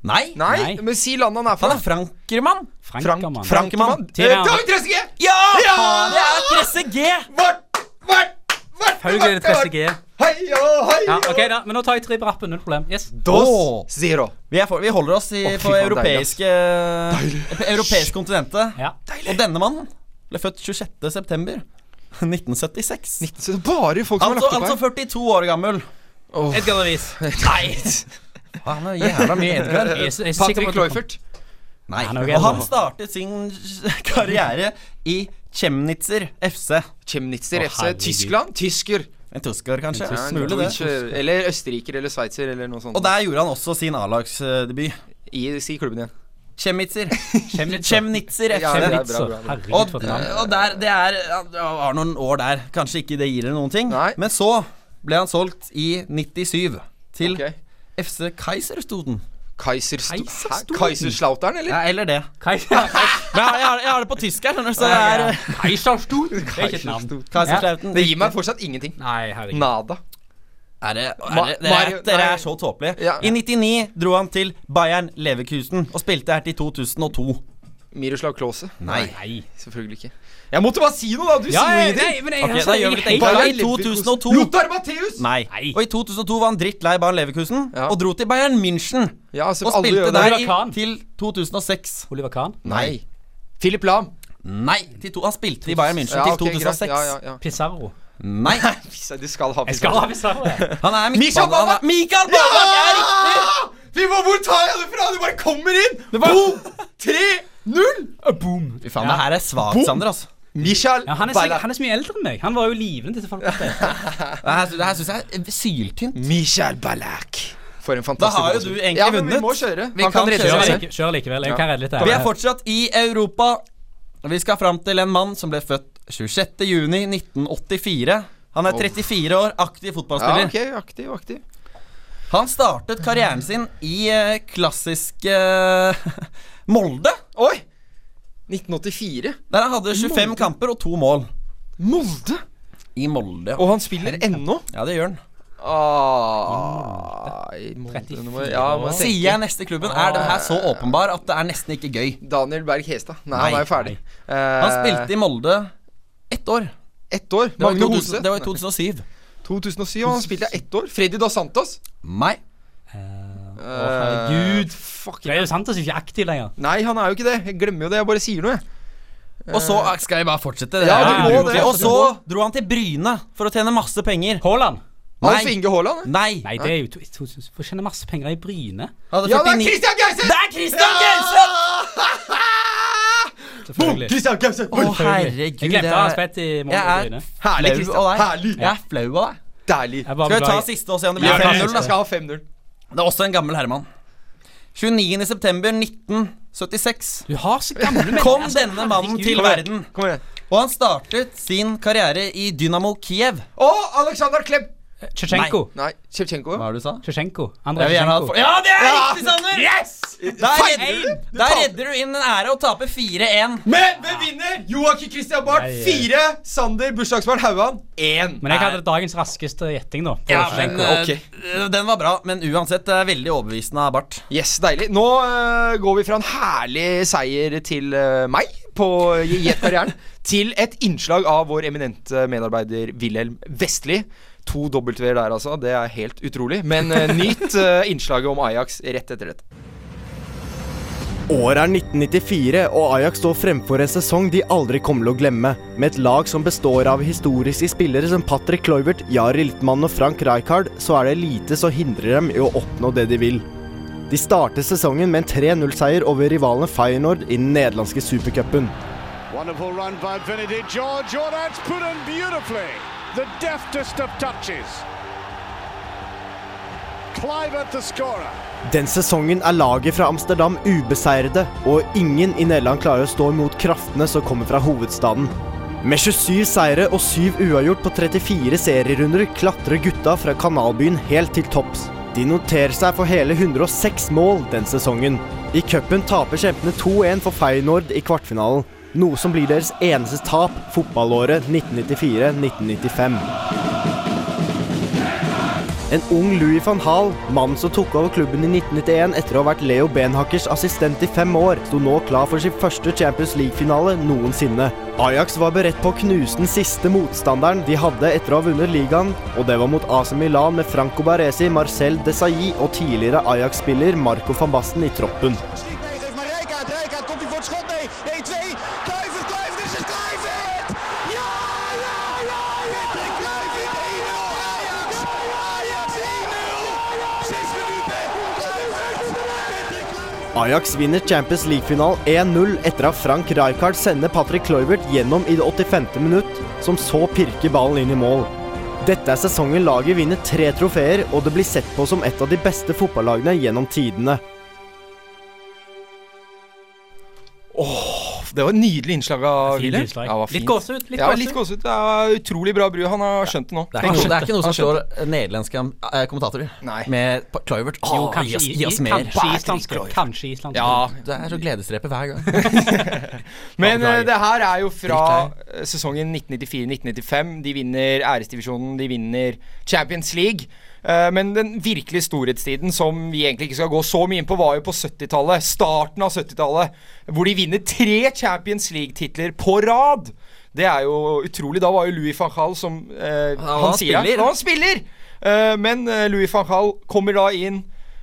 S4: Nei,
S2: Nei,
S3: Nei.
S2: men si landet han er
S4: han
S2: fra.
S4: er frankermann!
S3: Frankermann.
S4: Frankermann.
S3: Tidligere-
S2: David Treske!
S4: Ja!
S2: Ja!
S4: Det er presse G!
S2: Vart, vart, vart,
S3: Haug er det 30G.
S2: Hei, ja, hei,
S3: Ja, ok da, men nå tar jeg tre på rappen, null problem. Yes.
S4: Åh.
S2: Dos zero.
S4: Vi, er for, vi holder oss i,
S2: Å, fy
S4: på
S2: faen,
S4: europeiske, på europeiske kontinentet.
S3: Ja.
S4: Og denne mannen ble født 26.9.1976.
S2: Så det er bare folk som har
S4: Altså, altså
S2: lagt opp her.
S4: 42 år gammel.
S2: Åh.
S3: Edgar Davies.
S4: Han er jævla mye Edgar.
S3: Jeg er så- jeg er så sikker på
S2: Patrick
S3: at du-
S2: Cloyfert.
S4: Nei.
S3: Han er jo
S4: Og
S3: gæren,
S4: han
S3: da.
S4: startet sin karriere i Chemnitzer FC.
S2: Chemnitzer
S3: Å,
S2: FC.
S3: herregud.
S2: Tyskland. Tysker.
S4: En tysker, kanskje.
S2: Ja, en
S4: Mulig det.
S2: deutsche- Eller østerriker eller sveitser eller noe sånt.
S4: Og der gjorde han også sin A-lagsdebut.
S2: I, si klubben igjen.
S4: Chemnitzer.
S3: Chemnitzer.
S4: Chemnitzer
S2: Ja, det er
S4: FC.
S2: bra, bra, bra.
S4: Og,
S3: Herregud, for et navn.
S4: og der, det er Han var noen år der. Kanskje ikke det gir dere noen ting.
S2: Nei.
S4: Men så ble han solgt i 97 til
S2: Ok.
S4: FC Kaiserstoden.
S2: Kaisersto-
S3: Kaiserstolen?
S2: Hæ? Kaiserslautern, eller?
S4: Ja, eller det.
S3: Kai-
S4: Men jeg, jeg, har, jeg har det på tysk her, skjønner du, så det er
S3: Ja. Kaiserstuhl. Det er ikke et navn.
S2: Kaiserslautern.
S4: Kaiserslautern.
S2: Det gir meg fortsatt ingenting.
S3: Nei, herregud.
S2: Nada.
S4: Er det, er
S2: Ma-
S4: det, dere,
S2: Mario-
S4: er, dere
S2: nei.
S4: er så tåpelige.
S2: Ja.
S4: I 99 dro han til Bayern Leverkusen og spilte her til 2002.
S2: Miroslav Klause.
S3: Nei.
S2: Selvfølgelig ikke. Jeg måtte bare si noe, da! Du
S3: Ja,
S2: sier jo
S3: nei,
S2: ingenting.
S3: nei, men jeg,
S4: Ok,
S3: altså,
S4: da
S3: jeg
S4: gjør
S3: hater-
S4: vi det enkelt. Bayern
S2: Leverkusen.
S4: 2002.
S2: Lothar Matthäus!
S4: Nei.
S3: Nei.
S4: Og i 2002 var han drittlei Bayern Leverkusen
S2: Ja.
S4: og dro til Bayern München.
S2: Ja, altså,
S4: Og
S2: alle
S4: spilte
S2: gjør det.
S4: der
S3: Oliver
S4: i,
S3: Kahn.
S4: til 2006.
S3: Oliver Kahn.
S2: Nei. Philip Lahm.
S4: Nei, til to, han spilte i Bayern München
S2: Ja, ok,
S4: til
S2: greit.
S4: 2006.
S2: Ja, ja, ja.
S3: Pissarro.
S4: Nei.
S2: Pissa, Du skal ha
S3: Jeg skal ha Pissarro. jeg.
S4: Han er
S2: Michael
S4: midtbane... han
S2: Ballack!
S4: er- Michael Ballack er riktig!
S2: Vi må, hvor tar jeg det fra? Du bare kommer inn! Boom! 3-0!
S3: Boom.
S4: Fy faen, det her er svakt, Sander. altså
S2: Michael
S3: Ja, han, er, sikkert-
S2: Ballack.
S3: han er så mye eldre enn meg. Han var jo livende til folk.
S4: Det her, det her syns jeg er syltynt.
S2: Michael Ballack. For en
S4: Da
S2: fantastisk
S4: har jo du
S2: avslutning.
S4: egentlig
S2: Ja, men vi
S4: vunnet.
S2: må kjøre.
S4: Vi
S2: Han kan
S4: kan
S2: redde seg
S4: kjøre.
S3: Kjør,
S2: selv.
S3: like, kjør likevel. Jeg kan redde litt. her.
S4: Vi er fortsatt i Europa. Vi skal fram til en mann som ble født 26.6.1984. Han er 34 år, aktiv
S2: Ja,
S4: fotballspiller.
S2: ok, aktiv, aktiv.
S4: Han startet karrieren sin i eh, klassiske eh, Molde,
S2: Oi! 1984.
S4: der han hadde 25 kamper og to mål.
S2: Molde!
S4: I Molde.
S2: Og han spiller ennå.
S4: Ja, det gjør han.
S2: Ah, i Molde nå må jeg- ja, må jeg tenke.
S4: Sier jeg neste klubben, er den her så åpenbar at det er nesten ikke gøy.
S2: Daniel Berg Hestad. Nei,
S4: Nei,
S2: han er jo ferdig. Eh,
S4: Han spilte i Molde ett år.
S2: ett år.
S4: Det var, i
S2: Magne
S4: 2000,
S2: Hose.
S4: det var i 2007.
S2: 2007. og Han spilte i ett år. Freddy Dos Santos.
S4: Nei.
S2: Å,
S3: herregud.
S2: fuck.
S3: Det er jo sant at du ikke er aktiv lenger.
S2: Nei, han er jo ikke det. Jeg glemmer jo det. Jeg bare sier noe, jeg.
S4: Og så skal jeg bare fortsette.
S2: Ja,
S3: du må
S4: det.
S3: det.
S4: Og så dro han til Bryne for å tjene masse penger.
S3: Haaland.
S2: Alf
S4: Nei.
S2: Inge Haaland. jeg.
S4: Nei.
S3: Nei, det er jo to, to, to, Får tjene masse penger i Bryne.
S4: Han
S2: Ja,
S4: hadde
S2: det er
S4: 49
S2: Christian Gauseth!
S4: Det er Christian Gauseth!
S2: Boom!
S3: Selvfølgelig.
S2: Christian Gauseth!
S4: Å,
S2: Boom!
S4: herregud.
S3: Jeg glemte
S4: det
S3: at han
S4: er-
S3: spilte i mål i
S4: Jeg er
S3: Bryne.
S2: Herlig,
S4: flau av deg.
S2: Christian. Herlig.
S4: Jeg er flau av deg.
S2: Deilig.
S3: Jeg bare
S4: Skal vi ta
S3: beklager.
S4: siste og se om det
S2: Ja,
S4: blir 5-0, da?
S2: skal ha 5-0.
S4: Det er også en gammel herremann. 29.9.1976
S3: Du har så gamle mennesker.
S4: kom
S3: Altså,
S4: denne mannen
S3: herregud.
S4: til verden.
S2: Kom igjen.
S4: Og han startet sin karriere i Dynamo Kiev.
S2: Å, Aleksandr Klebb!
S3: Shevchenko.
S2: Nei, Shevchenko.
S4: Hva er det du sa?
S3: Shevchenko.
S4: Jeg
S3: Andrej
S4: vil gjerne ha
S3: Shevchenko.
S4: Ja, det er riktig, Sander! Der
S2: Feil!
S4: redder, du,
S2: Du
S4: der
S2: taper.
S4: redder du inn en ære og taper 4-1.
S2: Men hvem vinner? Joakim Christian Barth
S3: Nei, eh.
S2: fire. Sander bursdagsbarn Hauan én.
S3: Men jeg hadde dagens raskeste gjetting, da. på
S4: Ja, men
S3: Shevchenko.
S4: eh,
S2: ok.
S4: Den var bra, men uansett det er veldig overbevisende av Bart.
S2: Yes, deilig. Nå eh, går vi fra en herlig seier til eh, meg på Jet-karrieren, til et innslag av vår eminente medarbeider Wilhelm Vestli. To W-er der, altså. Det er helt utrolig. Men eh, nyt eh, innslaget om Ajax rett etter dette.
S8: Året er 1994, og Ajax står fremfor en sesong de aldri kommer til å glemme. Med et lag som består av historiske spillere som Patrick Kluivert, Jari Littmann og Frank Rijkaard, så er det lite som hindrer dem i å oppnå det de vil. De starter sesongen med en 3-0-seier over rivalene Feyenoord i den nederlandske supercupen.
S9: Wonderful run by Benedict George. Oh, that's put in beautifully. The deftest of touches. Kluivert the scorer.
S8: Den sesongen er laget fra Amsterdam ubeseirede, og ingen i Nederland klarer å stå imot kraftene som kommer fra hovedstaden. Med 27 seire og 7 uavgjort på 34 serierunder klatrer gutta fra kanalbyen helt til topps. De noterer seg for hele 106 mål den sesongen. I cupen taper kjempene 2-1 for Feyenoord i kvartfinalen, noe som blir deres eneste tap fotballåret 1994-1995. En ung Louis van Hall, mannen som tok over klubben i 1991 etter å ha vært Leo Benhakkers assistent i fem år, sto nå klar for sin første Champions League-finale noensinne. Ajax var beredt på å knuse den siste motstanderen de hadde etter å ha vunnet ligaen, og det var mot AC Milan med Franco Baresi, Marcel Desailly og tidligere Ajax-spiller Marco van Basten i troppen.
S9: Schiet even maar Rijkaard. Rijkaard komt hij voor het schot. Nee, nee, twee. Kluivert, Kluivert, is het Kluivert! Ja, ja, ja, ja! Kluivert 1-0 Ajax! Ajax 1-0! Zes minuten. Kluivert! Patrick Kluivert!
S8: Ajax vinner Champions League-finalen 1-0 etter at Frank Rijkaard sender Patrick Kluivert gjennom i det 85. minutt, som så pirker ballen inn i mål. Dette er sesongen laget vinner tre trofeer, og det blir sett på som et av de beste fotballagene gjennom tidene.
S2: Det var et nydelig innslag av
S3: Fint
S2: Wilhelm.
S3: innslag.
S2: Ja, det var
S3: Litt
S2: fint.
S3: gåsehud. Litt
S2: Ja,
S3: gåsehud.
S2: litt gåsehud. Det er utrolig bra bru. Han har skjønt det nå.
S4: Det er ikke, det er ikke noe som
S2: Han
S4: slår
S2: skjønte
S4: eh, nederlandske eh, kommentatorer.
S2: Nei.
S4: Med P- Kluivert.
S3: Jo,
S4: Åh,
S3: kanskje,
S4: gi
S3: i-
S4: oss- gi oss
S3: i-
S4: mer.
S3: kanskje islandsk. Kanskje islandsk.
S2: Ja,
S4: Det er så gledesdrepe hver gang.
S2: Men
S4: Ja,
S2: eh, det her er jo fra
S4: Dritt
S2: eh, sesongen 1994-1995. De vinner æresdivisjonen, de vinner Champions League. Eh, Men den virkelige storhetstiden som vi egentlig ikke skal gå så mye inn på, var jo på 70-tallet. Starten av 70-tallet. Hvor de vinner tre Champions League-titler på rad. Det er jo utrolig. Da var jo Louis van Gaal som eh,
S4: var
S2: Han sier det.
S4: spiller.
S2: Han spiller! Eh, men eh, Louis van Gaal kommer da inn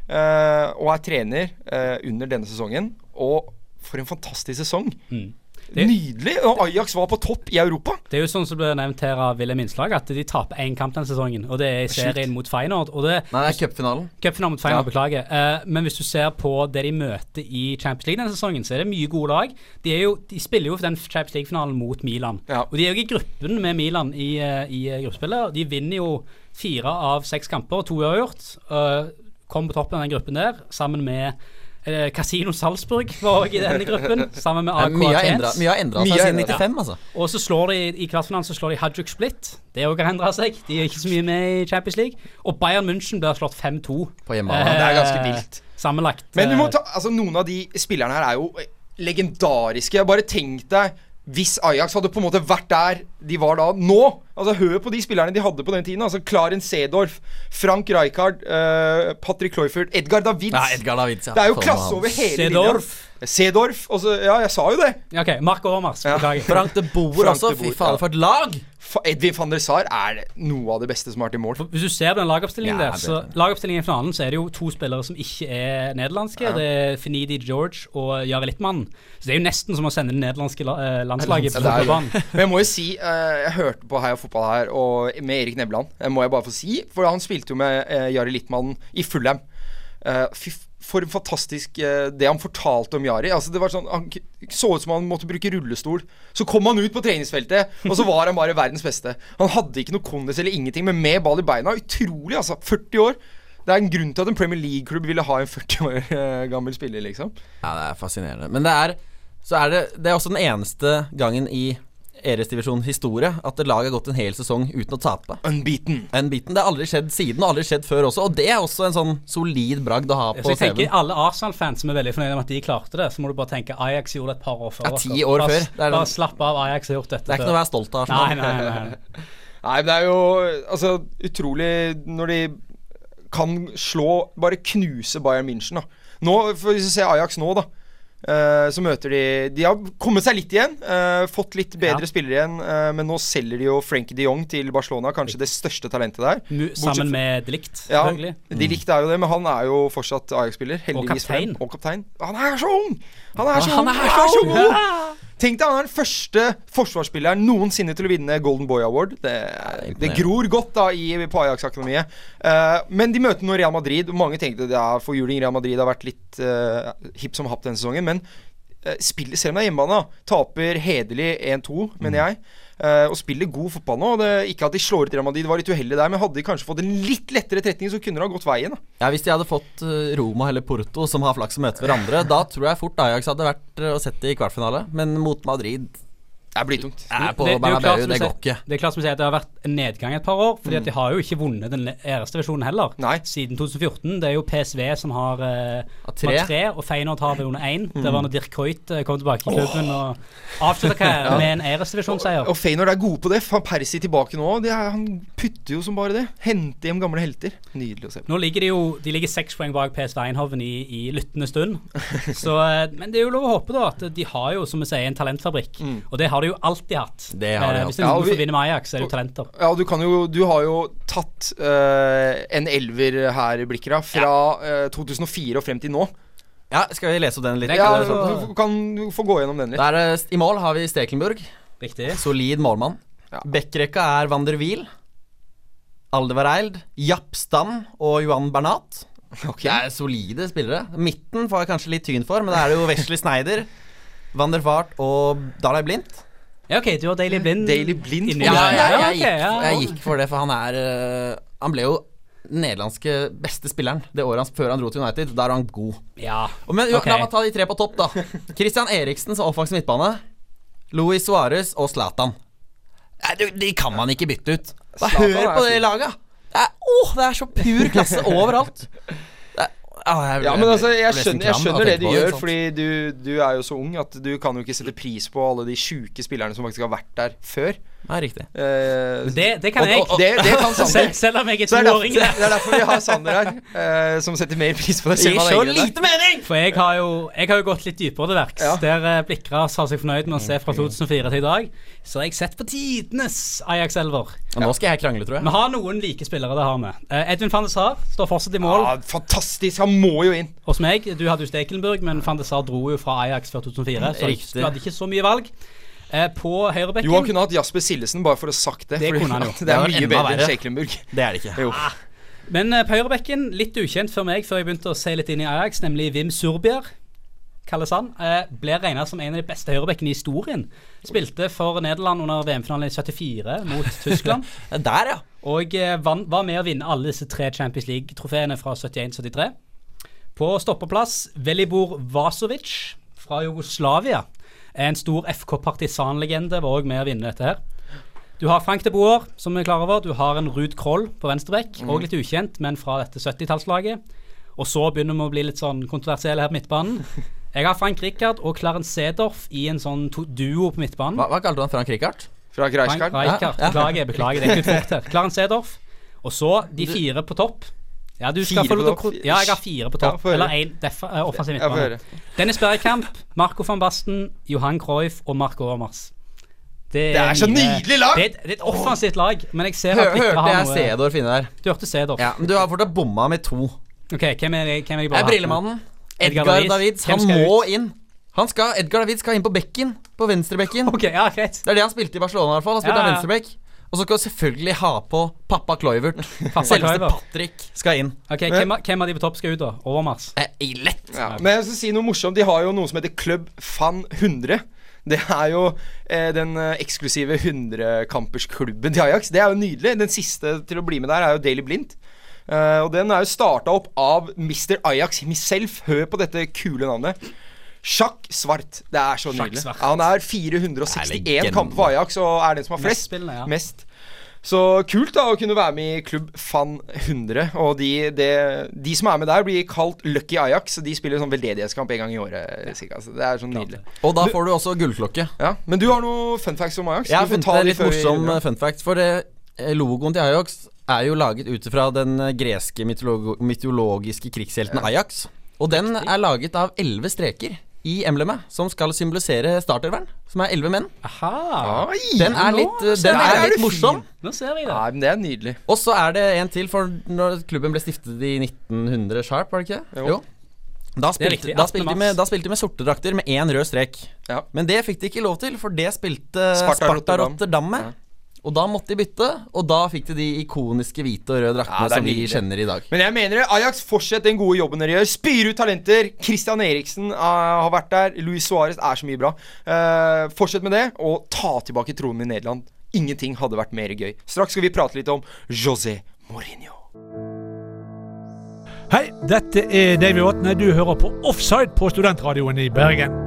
S2: eh, og er trener eh, under denne sesongen. Og for en fantastisk sesong!
S3: Det-
S2: Nydelig! Og Ajax var på topp i Europa.
S3: Det er jo sånn som ble nevnt her av Wilhelm Innslag, at de taper én kamp den sesongen. Og det er i serien mot Feyenoord. Og det
S4: Nei, det er cupfinalen.
S3: Cupfinalen mot Feyenoord, beklager. Eh, men hvis du ser på det de møter i Champions League denne sesongen, så er det mye gode lag. De, er jo, de spiller jo den Champions League-finalen mot Milan.
S2: Ja.
S3: Og de er jo i gruppen med Milan i, eh, i eh, gruppespillet. og De vinner jo fire av seks kamper, to uavgjort. Uh, kom på toppen av den gruppen der, sammen med eh, Casino Salzburg var også i denne gruppen. Sammen med
S4: Nei,
S3: AK
S4: Mye har endra
S3: Athens.
S4: mye har endra
S2: Mye
S4: seg
S2: har
S4: siden
S2: endret-
S4: 95, altså.
S3: Og så slår de i kvartfinalen så slår de Hajuk Split. Det òg har endra seg. De er ikke så mye med i Champions League. Og Bayern München blir slått 5-2.
S4: På hjemmebane.
S2: Det er ganske vilt.
S3: Sammenlagt.
S2: Men du må
S3: eh,
S2: ta, altså, noen av de spillerne her er jo eh, legendariske. Bare tenk deg hvis Ajax hadde på en måte vært der de var da, nå. Altså Hør på de spillerne de hadde på den tiden. Altså Klaren Seedorf, Frank Rijkaard, eh, Patrick Cloyford, Edgar Davids.
S4: Ja, Edgar Davids, ja.
S2: Det er jo
S4: Faen,
S2: klasse
S4: han.
S2: over hele
S3: Seedorf.
S2: linja. Seedorf. og så- Ja, jeg sa jo det.
S3: ja, OK. Mark Overmars. Beklager.
S4: Frank de Boer
S2: Frank
S4: også.
S2: de Boer,
S4: Fy fader,
S2: ja.
S4: for et lag!
S2: Fa- Edvin van der Sar er noe av det beste som har vært i mål.
S3: Hvis du ser på den lagoppstillingen
S4: Ja,
S3: der,
S4: det-
S3: så lagoppstillingen i finalen, så er det jo to spillere som ikke er nederlandske. Det er Finidi George og Jari Littmann. Så det er jo nesten som å sende det nederlandske la eh, landslaget på
S2: Ja, det er jo-
S3: fotballbanen.
S2: Men jeg må jo si, eh, jeg hørte på Heia Fotball her, og med Erik Nevland, eh, må jeg bare få si. For han spilte jo med eh, Jari Littmann i Fulham. Eh, fy f- for en fantastisk eh, Det han fortalte om Jari. Altså det var sånn, Han k- så ut som han måtte bruke rullestol. Så kom han ut på treningsfeltet, og så var han bare verdens beste. Han hadde ikke noe kondis eller ingenting, men med ball i beina. Utrolig, altså. 40 år. Det er en grunn til at en Premier League-klubb ville ha en 40 år eh, gammel spiller, liksom.
S4: Ja, det er fascinerende. Men det er, så er det, det er også den eneste gangen i Eresdivisjon historie at et lag har gått en hel sesong uten å tape.
S2: Unbeaten.
S4: Unbeaten. Det har aldri skjedd siden, og aldri skjedd før også. Og det er også en sånn solid bragd å ha
S3: Så
S4: på
S3: jeg
S4: CV-en.
S3: tenker alle Arsenal-fans som er veldig fornøyde med at de klarte det, så må du bare tenke Ajax gjorde det et par år før.
S4: Ja, ti
S3: dere.
S4: år
S3: bare,
S4: før. Det er
S3: bare
S4: den-
S3: slapp av, Ajax har gjort dette
S4: Det er ikke noe å være stolt av.
S3: Nei,
S4: Arsenal.
S3: nei, nei, nei.
S2: Nei, men det er jo altså, utrolig når de kan slå Bare knuse Bayern München, da. Nå, for Hvis du ser Ajax nå, da. eh, så møter de De har kommet seg litt igjen. eh, fått litt bedre
S3: Ja.
S2: spillere igjen. eh, men nå selger de jo Frenkie de Jong til Barcelona, kanskje det største talentet der.
S3: Mu- Sammen med Delikt,
S2: Ja,
S3: selvfølgelig.
S2: de likte er jo det, men han er jo fortsatt Ajax-spiller. Heldigvis for dem.
S3: kaptein.
S2: Og kaptein. Han er så ung! Han er så ung!
S4: han er
S2: Han er så ung! Tenk deg, han er den første forsvarsspilleren noensinne til å vinne Golden Boy Award. Det, det gror godt da i, på Ajax-akademiet. Eh, men de møter nå Real Madrid. og Mange tenkte at ja, forjuling Real Madrid har vært litt eh, hipp som happ denne sesongen. Men eh, spiller, selv om det er hjemmebane, da, taper hederlig 1-2,
S4: Mm.
S2: mener jeg. eh, og spiller god fotball nå. og Det, ikke at de slår ut Real Madrid, var litt uheldig der, men hadde de kanskje fått en litt lettere tretning, så kunne det ha gått veien. Da.
S4: Ja, Hvis de hadde fått eh, Roma eller Porto, som har flaks og møter hverandre, da tror jeg fort Ajax hadde vært eh, og sett det i kvartfinale. Men mot Madrid
S2: Det er blytungt.
S4: er på
S3: det, det, er jo klart
S4: Bernabeu,
S3: som
S4: det
S3: du
S4: går ikke. Mm.
S3: sier- det er klart som du sier at det har vært en nedgang et par år, fordi at de har jo ikke vunnet den æreste versjonen heller.
S2: Nei.
S3: Siden 2014. Det er jo PSV som har eh,
S4: Av
S3: som har
S4: tre. Mm.
S3: tre og Feyenoord har vunnet én. Det var når Dirk Kuyt eh, kom tilbake i klubben og avslutta karrieren med en æresdivisjonsseier.
S2: Og Feyenoord er gode på det. Van Persie tilbake nå. Det er, han putter jo som bare det. Hente hjem gamle helter. Nydelig å se på.
S3: Nå ligger de jo De ligger seks poeng bak PSV Eindhoven i, i lyttende stund. Så, eh, men det er jo lov å håpe, da, at de har jo som vi sier, en talentfabrikk.
S2: Mm.
S3: Og det har de jo alltid hatt.
S4: Det har
S3: Eh,
S4: de hatt.
S3: Hvis det er
S2: Ja, og
S3: noen
S2: vi-
S3: som vinner med Ajax, så er det jo talenter.
S2: Ja, du kan jo Du har jo tatt eh, en elver her, Blikkera, fra eh, 2004 og frem til nå.
S4: Ja, Skal vi lese opp den litt?
S2: Ja,
S4: eh, sånn?
S2: du kan du får gå gjennom den litt.
S4: Der, eh, I mål har vi Stekelenburg.
S3: Riktig.
S4: Solid målmann.
S2: Ja.
S4: Backrekka er Van der Wiel, Aldevareild, Japp Stam og Johan Bernat. Det er solide spillere. Midten får jeg kanskje litt tyn for, men da er det jo Wesley Snyder, Van der Vaart og Dalai Blindt.
S3: Ja, OK, du har Daily Blind.
S2: Daily Blind.
S3: Inni
S2: Ja,
S3: der.
S4: jeg, jeg,
S3: ok,
S4: gikk,
S3: ja.
S4: jeg gikk for det, for han er eh, Han ble jo den nederlandske beste spilleren det året han, før han dro til United. Da er han god.
S3: Ja.
S4: Og Men jo,
S3: Ok.
S4: la meg ta de tre på topp, da. Christian Eriksen som offensiv midtbane. Luis Suárez og Zlatan. Nei, du, de kan man ikke bytte ut. Bare
S2: Zlatan
S4: hør
S2: er
S4: på det
S2: fin.
S4: laget. da. Det er, åh, det er så pur klasse overalt. Det er, ah, jeg,
S2: Ja, men altså, jeg
S4: ble nesten
S2: skjønner, jeg
S4: klam av å
S2: skjønner det
S4: tenke
S2: du
S4: på
S2: gjør,
S4: sånt.
S2: fordi du, du er jo så ung at du kan jo ikke sette pris på alle de sjuke spillerne som faktisk har vært der før.
S4: Ja, riktig.
S2: Eh,
S3: Det, det kan jeg.
S2: og- og- det, det kan
S3: Selv,
S2: Sander.
S3: selv om jeg er
S2: Så det, er derfor,
S3: toåring.
S2: det er derfor vi har Sander her, eh, som setter mer pris på det. selv om han er yngre enn deg.
S4: mening!
S3: For jeg har, jo, jeg har jo gått litt dypere til verks.
S2: Ja. Mm.
S3: Der eh, Blikra sa seg fornøyd med å se fra 2004 til i dag. Så har jeg sett på tidenes Ajax-elver.
S4: Og nå skal jeg krangle, tror jeg.
S3: Vi har noen like spillere, det har vi. Eh, Edvin van de Saar står fortsatt i mål
S2: Ja, fantastisk! Han må jo inn.
S3: hos meg. Du hadde jo Stekelenburg, men van de Saar dro jo fra Ajax før 2004, så
S4: Riktig.
S3: du hadde ikke så mye valg. Eh, På høyrebekken
S2: Johan kunne hatt Jasper Sillesen, bare for å ha sagt det.
S3: Det
S2: fordi
S3: kunne han jo.
S2: Det er
S4: var
S2: mye
S4: enda
S2: bedre enn
S4: verre.
S2: Shakelenburg.
S4: Det er det ikke.
S2: Jo.
S3: Men eh, på høyrebekken, litt ukjent for meg før jeg begynte å se litt inn i Ajax, nemlig Wim Surbier, kalles han, eh, ble regna som en av de beste høyrebekkene i historien. Spilte for Nederland under VM-finalen i 74 mot Tyskland,
S4: Der, ja.
S3: og eh, vann, var med å vinne alle disse tre Champions League-trofeene fra 71-73. På stoppeplass Velibor Vasovic fra Jugoslavia. En stor FK Partisan-legende var òg med å vinne dette her. Du har Frank de Boer, som vi er klar over. Du har en Ruud Kroll på venstreback, òg litt ukjent, men fra dette 70-tallslaget. Og så begynner vi å bli litt sånn kontroversielle her på midtbanen. Jeg har Frank Rikard og Clarence Sedorf i en sånn to duo på midtbanen.
S4: Hva, hva kalte du han Frank Rikard?
S2: Fra
S3: Frank
S2: Kreiskarl.
S3: Rijkaard.
S4: Ja, ja.
S3: Beklager, beklager. Det gikk litt fort her. Clarence Sedorf. Og så de fire på topp. Ja, du skal
S2: Fire
S3: få lov til
S2: på
S3: å
S2: topp?
S3: kro- Ja, jeg har fire på
S2: Ja,
S3: topp.
S2: få høre.
S3: Eller én
S2: Ja, få
S3: offensiv midtbane.
S2: høre.
S3: Dennis Bergkamp, Marco van Basten, Johan Cruyff og Marco Overmars.
S2: Det er så nydelig lag!
S3: Det er, et- det er et offensivt lag, men jeg ser
S4: Hø,
S3: at Vikre
S4: hørte
S3: har
S4: jeg
S3: noe
S4: Cedor finne der.
S3: Du hørte Sedorf.
S4: Ja, Men du har fortsatt bomma med to.
S3: Ok, hvem er det hvem er jeg
S4: Det
S3: bare
S4: er brillemannen. Edgar
S3: Davids.
S4: Davids.
S3: Hvem
S4: Han
S3: skal
S4: må
S3: ut?
S4: inn. Han skal, Edgar Davids skal inn på bekken. På venstrebekken.
S3: Ok, ja, greit.
S4: Det er det han spilte i Barcelona. i hvert fall Han spilte
S3: Ja, ja.
S4: venstrebekk. Og så skal du selvfølgelig ha på pappa Kloivert. Selveste
S3: Kluivert.
S4: Patrick skal inn.
S3: Ok, hvem, er- hvem av de på topp skal ut, da? Overmars?
S4: Eh, i lett.
S2: Ja. Men jeg skal si noe morsomt. De har jo noe som heter Club Fan 100. Det er jo eh, den eh, eksklusive 100-kampersklubben til Ajax. Det er jo nydelig. Den siste til å bli med der er jo Daily Blind. Eh, og den er jo starta opp av Mr. Ajax himself. Hør på dette kule navnet. Sjakk Svart. Det er så nydelig. Ja,
S3: Svart.
S2: han er
S4: Det er
S2: 461
S4: legende.
S2: kamper for Ajax og er den som har
S3: Mest
S2: flest.
S3: spillende, ja.
S2: Mest. Så kult da å kunne være med i klubb Fan 100. Og de, de, de som er med der, blir kalt Lucky Ajax. Og de spiller sånn veldedighetskamp en gang i året. cirka, Så det er sånn nydelig.
S4: Og da får du også gullklokke.
S2: Ja, Men du har noe fun facts om Ajax?
S4: Jeg har
S2: du får
S4: funnet
S2: ta
S4: en
S2: de
S4: litt
S2: før vi
S4: morsom
S2: runder av.
S4: eh, fun fact. For eh, logoen til Ajax er jo laget ut fra den eh, greske mytologo- mytologiske krigshelten Ajax. Og den er laget av elleve streker i emblemet, som skal symbolisere startervern. Som er elleve menn.
S3: Aha!
S2: Ai,
S4: Den er litt, eh, den
S2: Der
S4: er
S2: er du
S4: litt morsom.
S3: Nå ser vi det.
S2: Nei, men det er nydelig.
S4: Og så er det en til, for når klubben ble stiftet i 1900 sharp, var det ikke det?
S2: Jo.
S4: Da
S3: er
S4: spilte,
S3: riktig,
S4: da,
S3: 18.
S4: spilte de
S3: mars.
S4: med, da spilte de med sorte drakter med én rød strek.
S2: Ja.
S4: Men det fikk de ikke lov til, for det spilte
S2: Sparta
S4: Sparta
S2: Rotterdam.
S4: Rotterdam med.
S2: Ja.
S4: Og da måtte de bytte, og da fikk de de ikoniske hvite og røde draktene
S2: Ja, det er
S4: som vi
S2: nydelig.
S4: kjenner i dag.
S2: Men jeg mener det. Ajax, fortsett den gode jobben dere gjør. Spyr ut talenter. Christian Eriksen eh, har vært der. Luis Suárez er så mye bra. Eh, fortsett med det, og ta tilbake tronen i Nederland. Ingenting hadde vært mer gøy. Straks skal vi prate litt om José Mourinho.
S10: Hei, dette er Davy Vatne. Du hører på Offside på studentradioen i Bergen.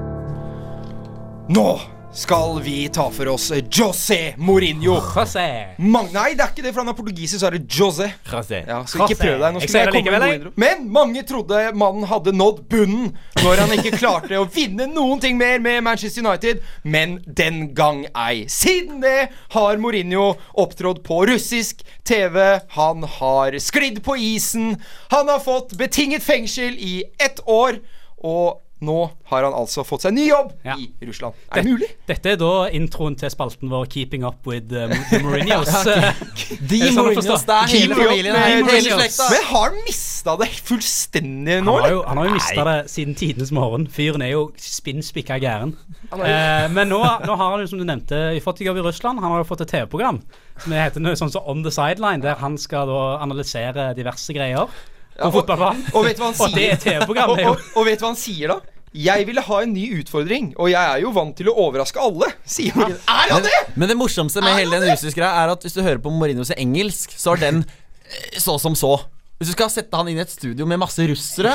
S2: Nå skal vi ta for oss José Mourinho.
S3: José.
S2: Mange, nei, det er ikke det, for han er portugisisk, så er det José. Ja, så ikke
S3: José.
S2: prøv deg. Nå
S3: Jeg
S2: skulle
S3: ser
S2: jeg
S3: det
S2: komme med en
S3: likevel,
S2: god intro. Men mange trodde mannen hadde nådd bunnen når han ikke klarte å vinne noen ting mer med Manchester United, men den gang ei. Siden det har Mourinho opptrådt på russisk TV, han har sklidd på isen, han har fått betinget fengsel i ett år, og nå har han altså fått seg ny jobb
S3: Ja.
S2: i Russland. Er det mulig?
S3: Dette er da introen til spalten vår 'Keeping Up With uh, the Mourinhos'. De
S4: Mourinhos, det er hele
S2: Keep it up,
S4: familien
S2: man.
S4: her, hele
S2: Mourinhos.
S4: slekta.
S2: Men har han mista det fullstendig nå,
S3: Han har
S2: eller?
S3: jo, han har jo mista det siden tidenes morgen. Fyren er jo spinnspikka gæren. Eh, men nå, nå har han jo, som du nevnte, fått jobb i Russland. Han har jo fått et TV-program som heter noe sånn som On the Sideline, der han skal da analysere diverse greier på
S2: og-
S3: fotballbanen.
S2: og vet du hva han
S3: Og det
S2: sier?
S3: er TV-program,
S2: Og,
S3: det er jo
S2: og, og vet du hva han sier, da? Jeg ville ha en ny utfordring, og jeg er jo vant til å overraske alle, sier han. Er han det?!
S4: Men det morsomste med hele den russiske greia er at hvis du hører på Mourinhos engelsk, så er den eh, så som så. Hvis du skal sette han inn i et studio med masse russere,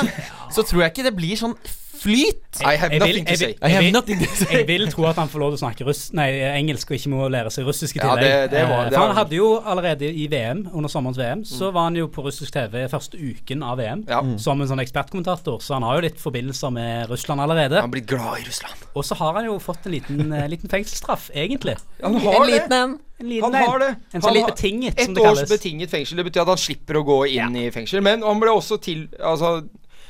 S4: så tror jeg ikke det blir sånn flyt.
S2: I have
S3: jeg vil-
S2: nothing to
S3: jeg vil-
S2: say.
S4: I have
S3: vil-
S4: nothing to say.
S3: Jeg vil tro at han får lov til å snakke russ, nei, engelsk og ikke må lære seg russisk i
S2: Ja, det-
S3: tillegg.
S2: det var-
S3: Eh,
S2: det
S3: For
S2: var- Mm.
S3: han hadde jo allerede i VM, under sommerens VM, så var han jo på russisk TV første uken av VM
S2: Ja. Mm.
S3: som en sånn ekspertkommentator, så han har jo litt forbindelser med Russland allerede.
S2: Han blir glad i Russland.
S3: Og så har han jo fått en liten, eh, liten fengselsstraff, egentlig.
S2: Han har det.
S4: en.
S3: En liten
S2: Han
S3: en.
S2: har det.
S3: En
S2: Han
S3: sånn litt
S2: har-
S3: betinget, som
S2: Ett
S3: det
S2: års
S3: kalles.
S2: betinget fengsel. Det betyr at han slipper å gå inn i fengsel. Men han ble også til, altså,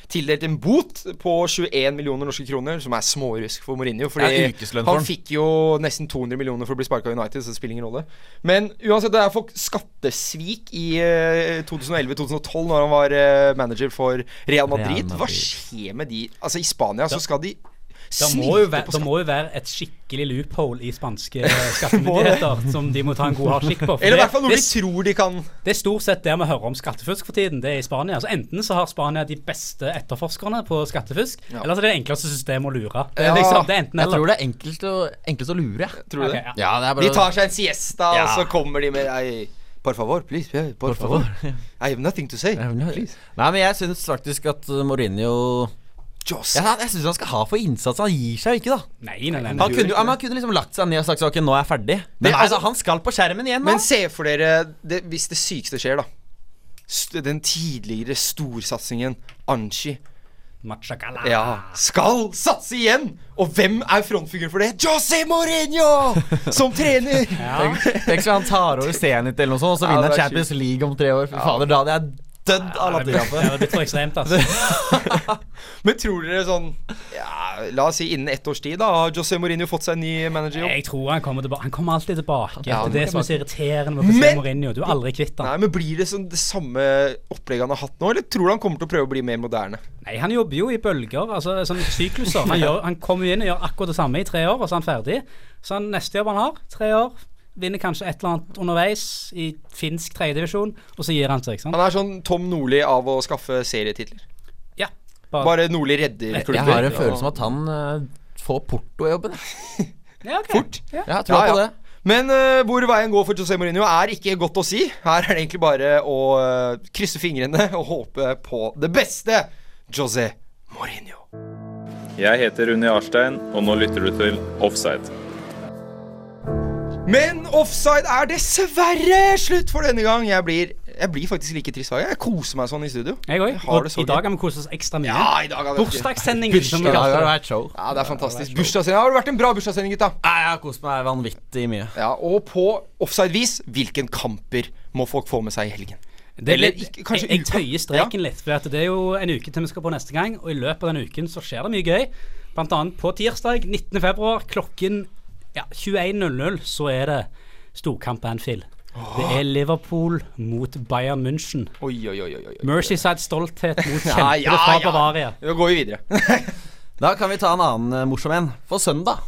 S2: tildelt en bot på 21 millioner norske kroner, som er smårusk for Mourinho.
S4: Det
S2: Fordi
S4: er ukeslønn
S2: han
S4: for han.
S2: fikk jo nesten 200 millioner for å bli sparka av United, så det spiller ingen rolle. Men uansett, det er folk skattesvik i eh, 2011-2012, når han var eh, manager for Real Madrid.
S4: Real
S2: Hva
S4: Madrid.
S2: skjer med de Altså, i Spania så skal de
S3: Det må, jo
S2: snyte
S3: være,
S2: på
S3: det
S2: skatt.
S3: må jo være et skikkelig loophole i spanske skattemyndigheter som de må ta en god hard skikk på. for
S2: Eller i
S3: det-
S2: hvert fall noe
S3: det-
S2: de tror de kan
S3: Det er stort sett der vi hører om skattefusk for tiden. Det er i Spania. Så enten så har Spania de beste etterforskerne på skattefusk,
S2: Ja.
S3: eller så er det det enkleste systemet å lure. Det
S2: Ja.
S3: er liksom, det er enten
S4: Jeg
S3: eller.
S4: tror det er enklest å, enklest å lure. jeg.
S2: Tror du
S3: Ok,
S2: det?
S3: ja.
S4: Ja, det er
S2: De
S4: bare
S2: tar seg en siesta, og
S4: Ja.
S2: så kommer de med ei Por favor, please. eh, Por, favor. I have nothing to say. Please.
S4: Nei, men jeg syns faktisk at uh, Mourinho
S2: Just.
S4: Jeg, jeg syns han skal ha for innsats. Han gir seg jo ikke, da.
S3: Nei, nei, nei.
S4: Han
S3: nei.
S4: kunne, jo- ja, men han kunne liksom lagt seg ned og sagt sånn, ok, nå er jeg ferdig. Men
S2: Men
S4: altså,
S2: altså-
S4: han skal på skjermen igjen nå.
S2: Men se for dere det, hvis det sykeste skjer, da. St den tidligere storsatsingen Anchi
S3: Machacala.
S2: ja, skal satse igjen! Og hvem er frontfiguren for det? José Mourinho! Som trener!
S4: Tenk så han tar over Zenit eller noe sånt, og så
S2: Ja,
S4: vinner
S2: det
S4: han
S2: er
S4: Champions League om tre år. Fy fader, da hadde jeg dødd av
S3: Ja, Det
S4: latterkrampe.
S3: er blitt for ekstremt, altså.
S2: Men tror dere sånn ja, La oss si innen ett års tid, da, har José Mourinho fått seg en ny managerjobb?
S3: Jeg tror han kommer tilbake. Han kommer alltid tilbake.
S2: Ja, han
S3: det er det som
S2: kommer
S3: er så irriterende med José
S2: Men-
S3: Mourinho. Du er aldri kvitt
S2: Nei,
S3: han.
S2: men Blir det sånn det samme opplegget han har hatt nå, eller tror du han kommer til å prøve å bli mer moderne?
S3: Nei, han jobber jo i bølger, altså sånne sykluser. Han, gjør, han kommer jo inn og gjør akkurat det samme i tre år, og så er han ferdig. Så han, neste jobb han har, tre år, vinner kanskje et eller annet underveis i finsk tredjedivisjon, og så gir han seg, ikke sant?
S2: Han er sånn Tom Nordli av å skaffe serietitler.
S3: Ja.
S2: Bare Nordli redder klubber.
S4: Jeg har en følelse om at han eh, får Porto-jobben.
S3: Ja, ok.
S2: Fort.
S3: Ja.
S4: Jeg tror
S2: Ja,
S4: på
S2: ja.
S4: det.
S2: Men eh, hvor veien går for José Mourinho, er ikke godt å si. Her er det egentlig bare å eh, krysse fingrene og håpe på det beste. José Mourinho.
S11: Jeg heter Rune Jarstein, og nå lytter du til Offside.
S2: Men offside er dessverre slutt for denne gang. Jeg blir, jeg blir faktisk like trist hver gang. Jeg koser meg sånn i studio.
S3: Jeg òg.
S2: Jeg har det så
S3: Og i dag har vi kost oss ekstra mye.
S2: Ja, i dag har vi
S3: Bursdagssending. som vi
S4: I
S3: kaller
S4: dag har det
S3: det.
S4: vært show.
S2: Ja, det er fantastisk. Bursdagssending. Har det vært en bra bursdagssending, gutta?
S4: Nei, Jeg har kost meg vanvittig mye.
S2: Ja, og på offside-vis, hvilken kamper må folk få med seg i helgen?
S3: Det
S2: Eller
S3: blir-
S2: ikke- kanskje
S3: jeg, jeg
S2: uka.
S3: tøyer streken litt. For at det er jo en uke til vi skal på neste gang, og i løpet av den uken så skjer det mye gøy. Blant annet på tirsdag 19. februar klokken ja, 21.00 så er det storkamp på Anfield. Det er Liverpool mot Bayern München.
S2: Oi, oi, oi, oi, oi.
S3: Merseyside stolthet mot
S2: Ja,
S3: kjempere
S2: ja,
S3: fra
S2: ja.
S3: Bavaria.
S2: Da går vi videre.
S4: Da kan vi ta en annen eh, morsom en. For søndag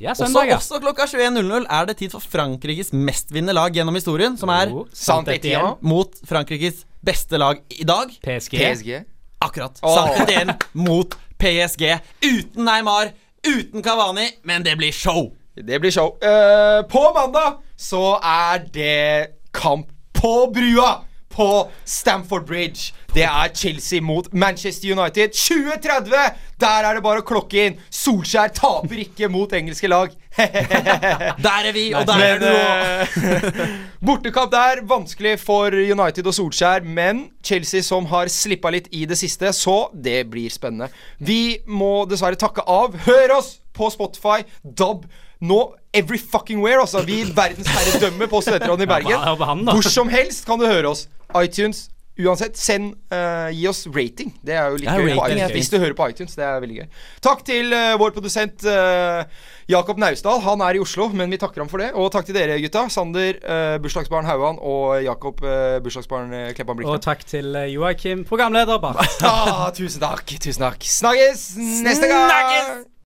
S3: Ja,
S4: også,
S3: søndag, ja.
S4: også klokka 21.00 er det tid for Frankrikes mestvinnende lag gjennom historien, som er
S3: Oh.
S2: Saint-Étienne.
S4: mot Frankrikes beste lag i dag. PSG.
S2: PSG.
S4: Akkurat.
S2: Åh.
S4: Saint-Étienne mot PSG. Uten Neymar, uten Kavani, men det blir show.
S2: Det blir show. Eh, på mandag så er det kamp på brua på Stamford Bridge. Det er Chelsea mot Manchester United. 2030! Der er det bare å klokke inn. Solskjær taper ikke mot engelske lag.
S4: der er vi, og der er du
S2: du òg. Bortekamp der. Vanskelig for United og Solskjær, men Chelsea som har slippa litt i det siste, så det blir spennende. Vi må dessverre takke av. Hør oss på Spotify, DAB, nå every fucking where, altså. Vi verdensherredømmer på Studentrådet i Bergen.
S3: Ja, hør på han, da.
S2: Hvor som helst kan du høre oss. iTunes. Uansett, send, eh, gi oss rating. Det er jo like
S4: Ja,
S2: gøy på
S4: rating er
S2: iTunes,
S4: gøy.
S2: hvis du hører på iTunes. Det er veldig gøy. Takk til eh, vår produsent eh, Jakob Naustdal. Han er i Oslo, men vi takker ham for det. Og takk til dere, gutta. Sander, uh, bursdagsbarn Hauan, og Jakob, eh, bursdagsbarn uh, Kleppan
S3: Og
S2: Blikstad.
S3: takk til eh, Joakim, programleder. Bart.
S2: Ah, tusen takk. Tusen takk. Snakkes neste gang!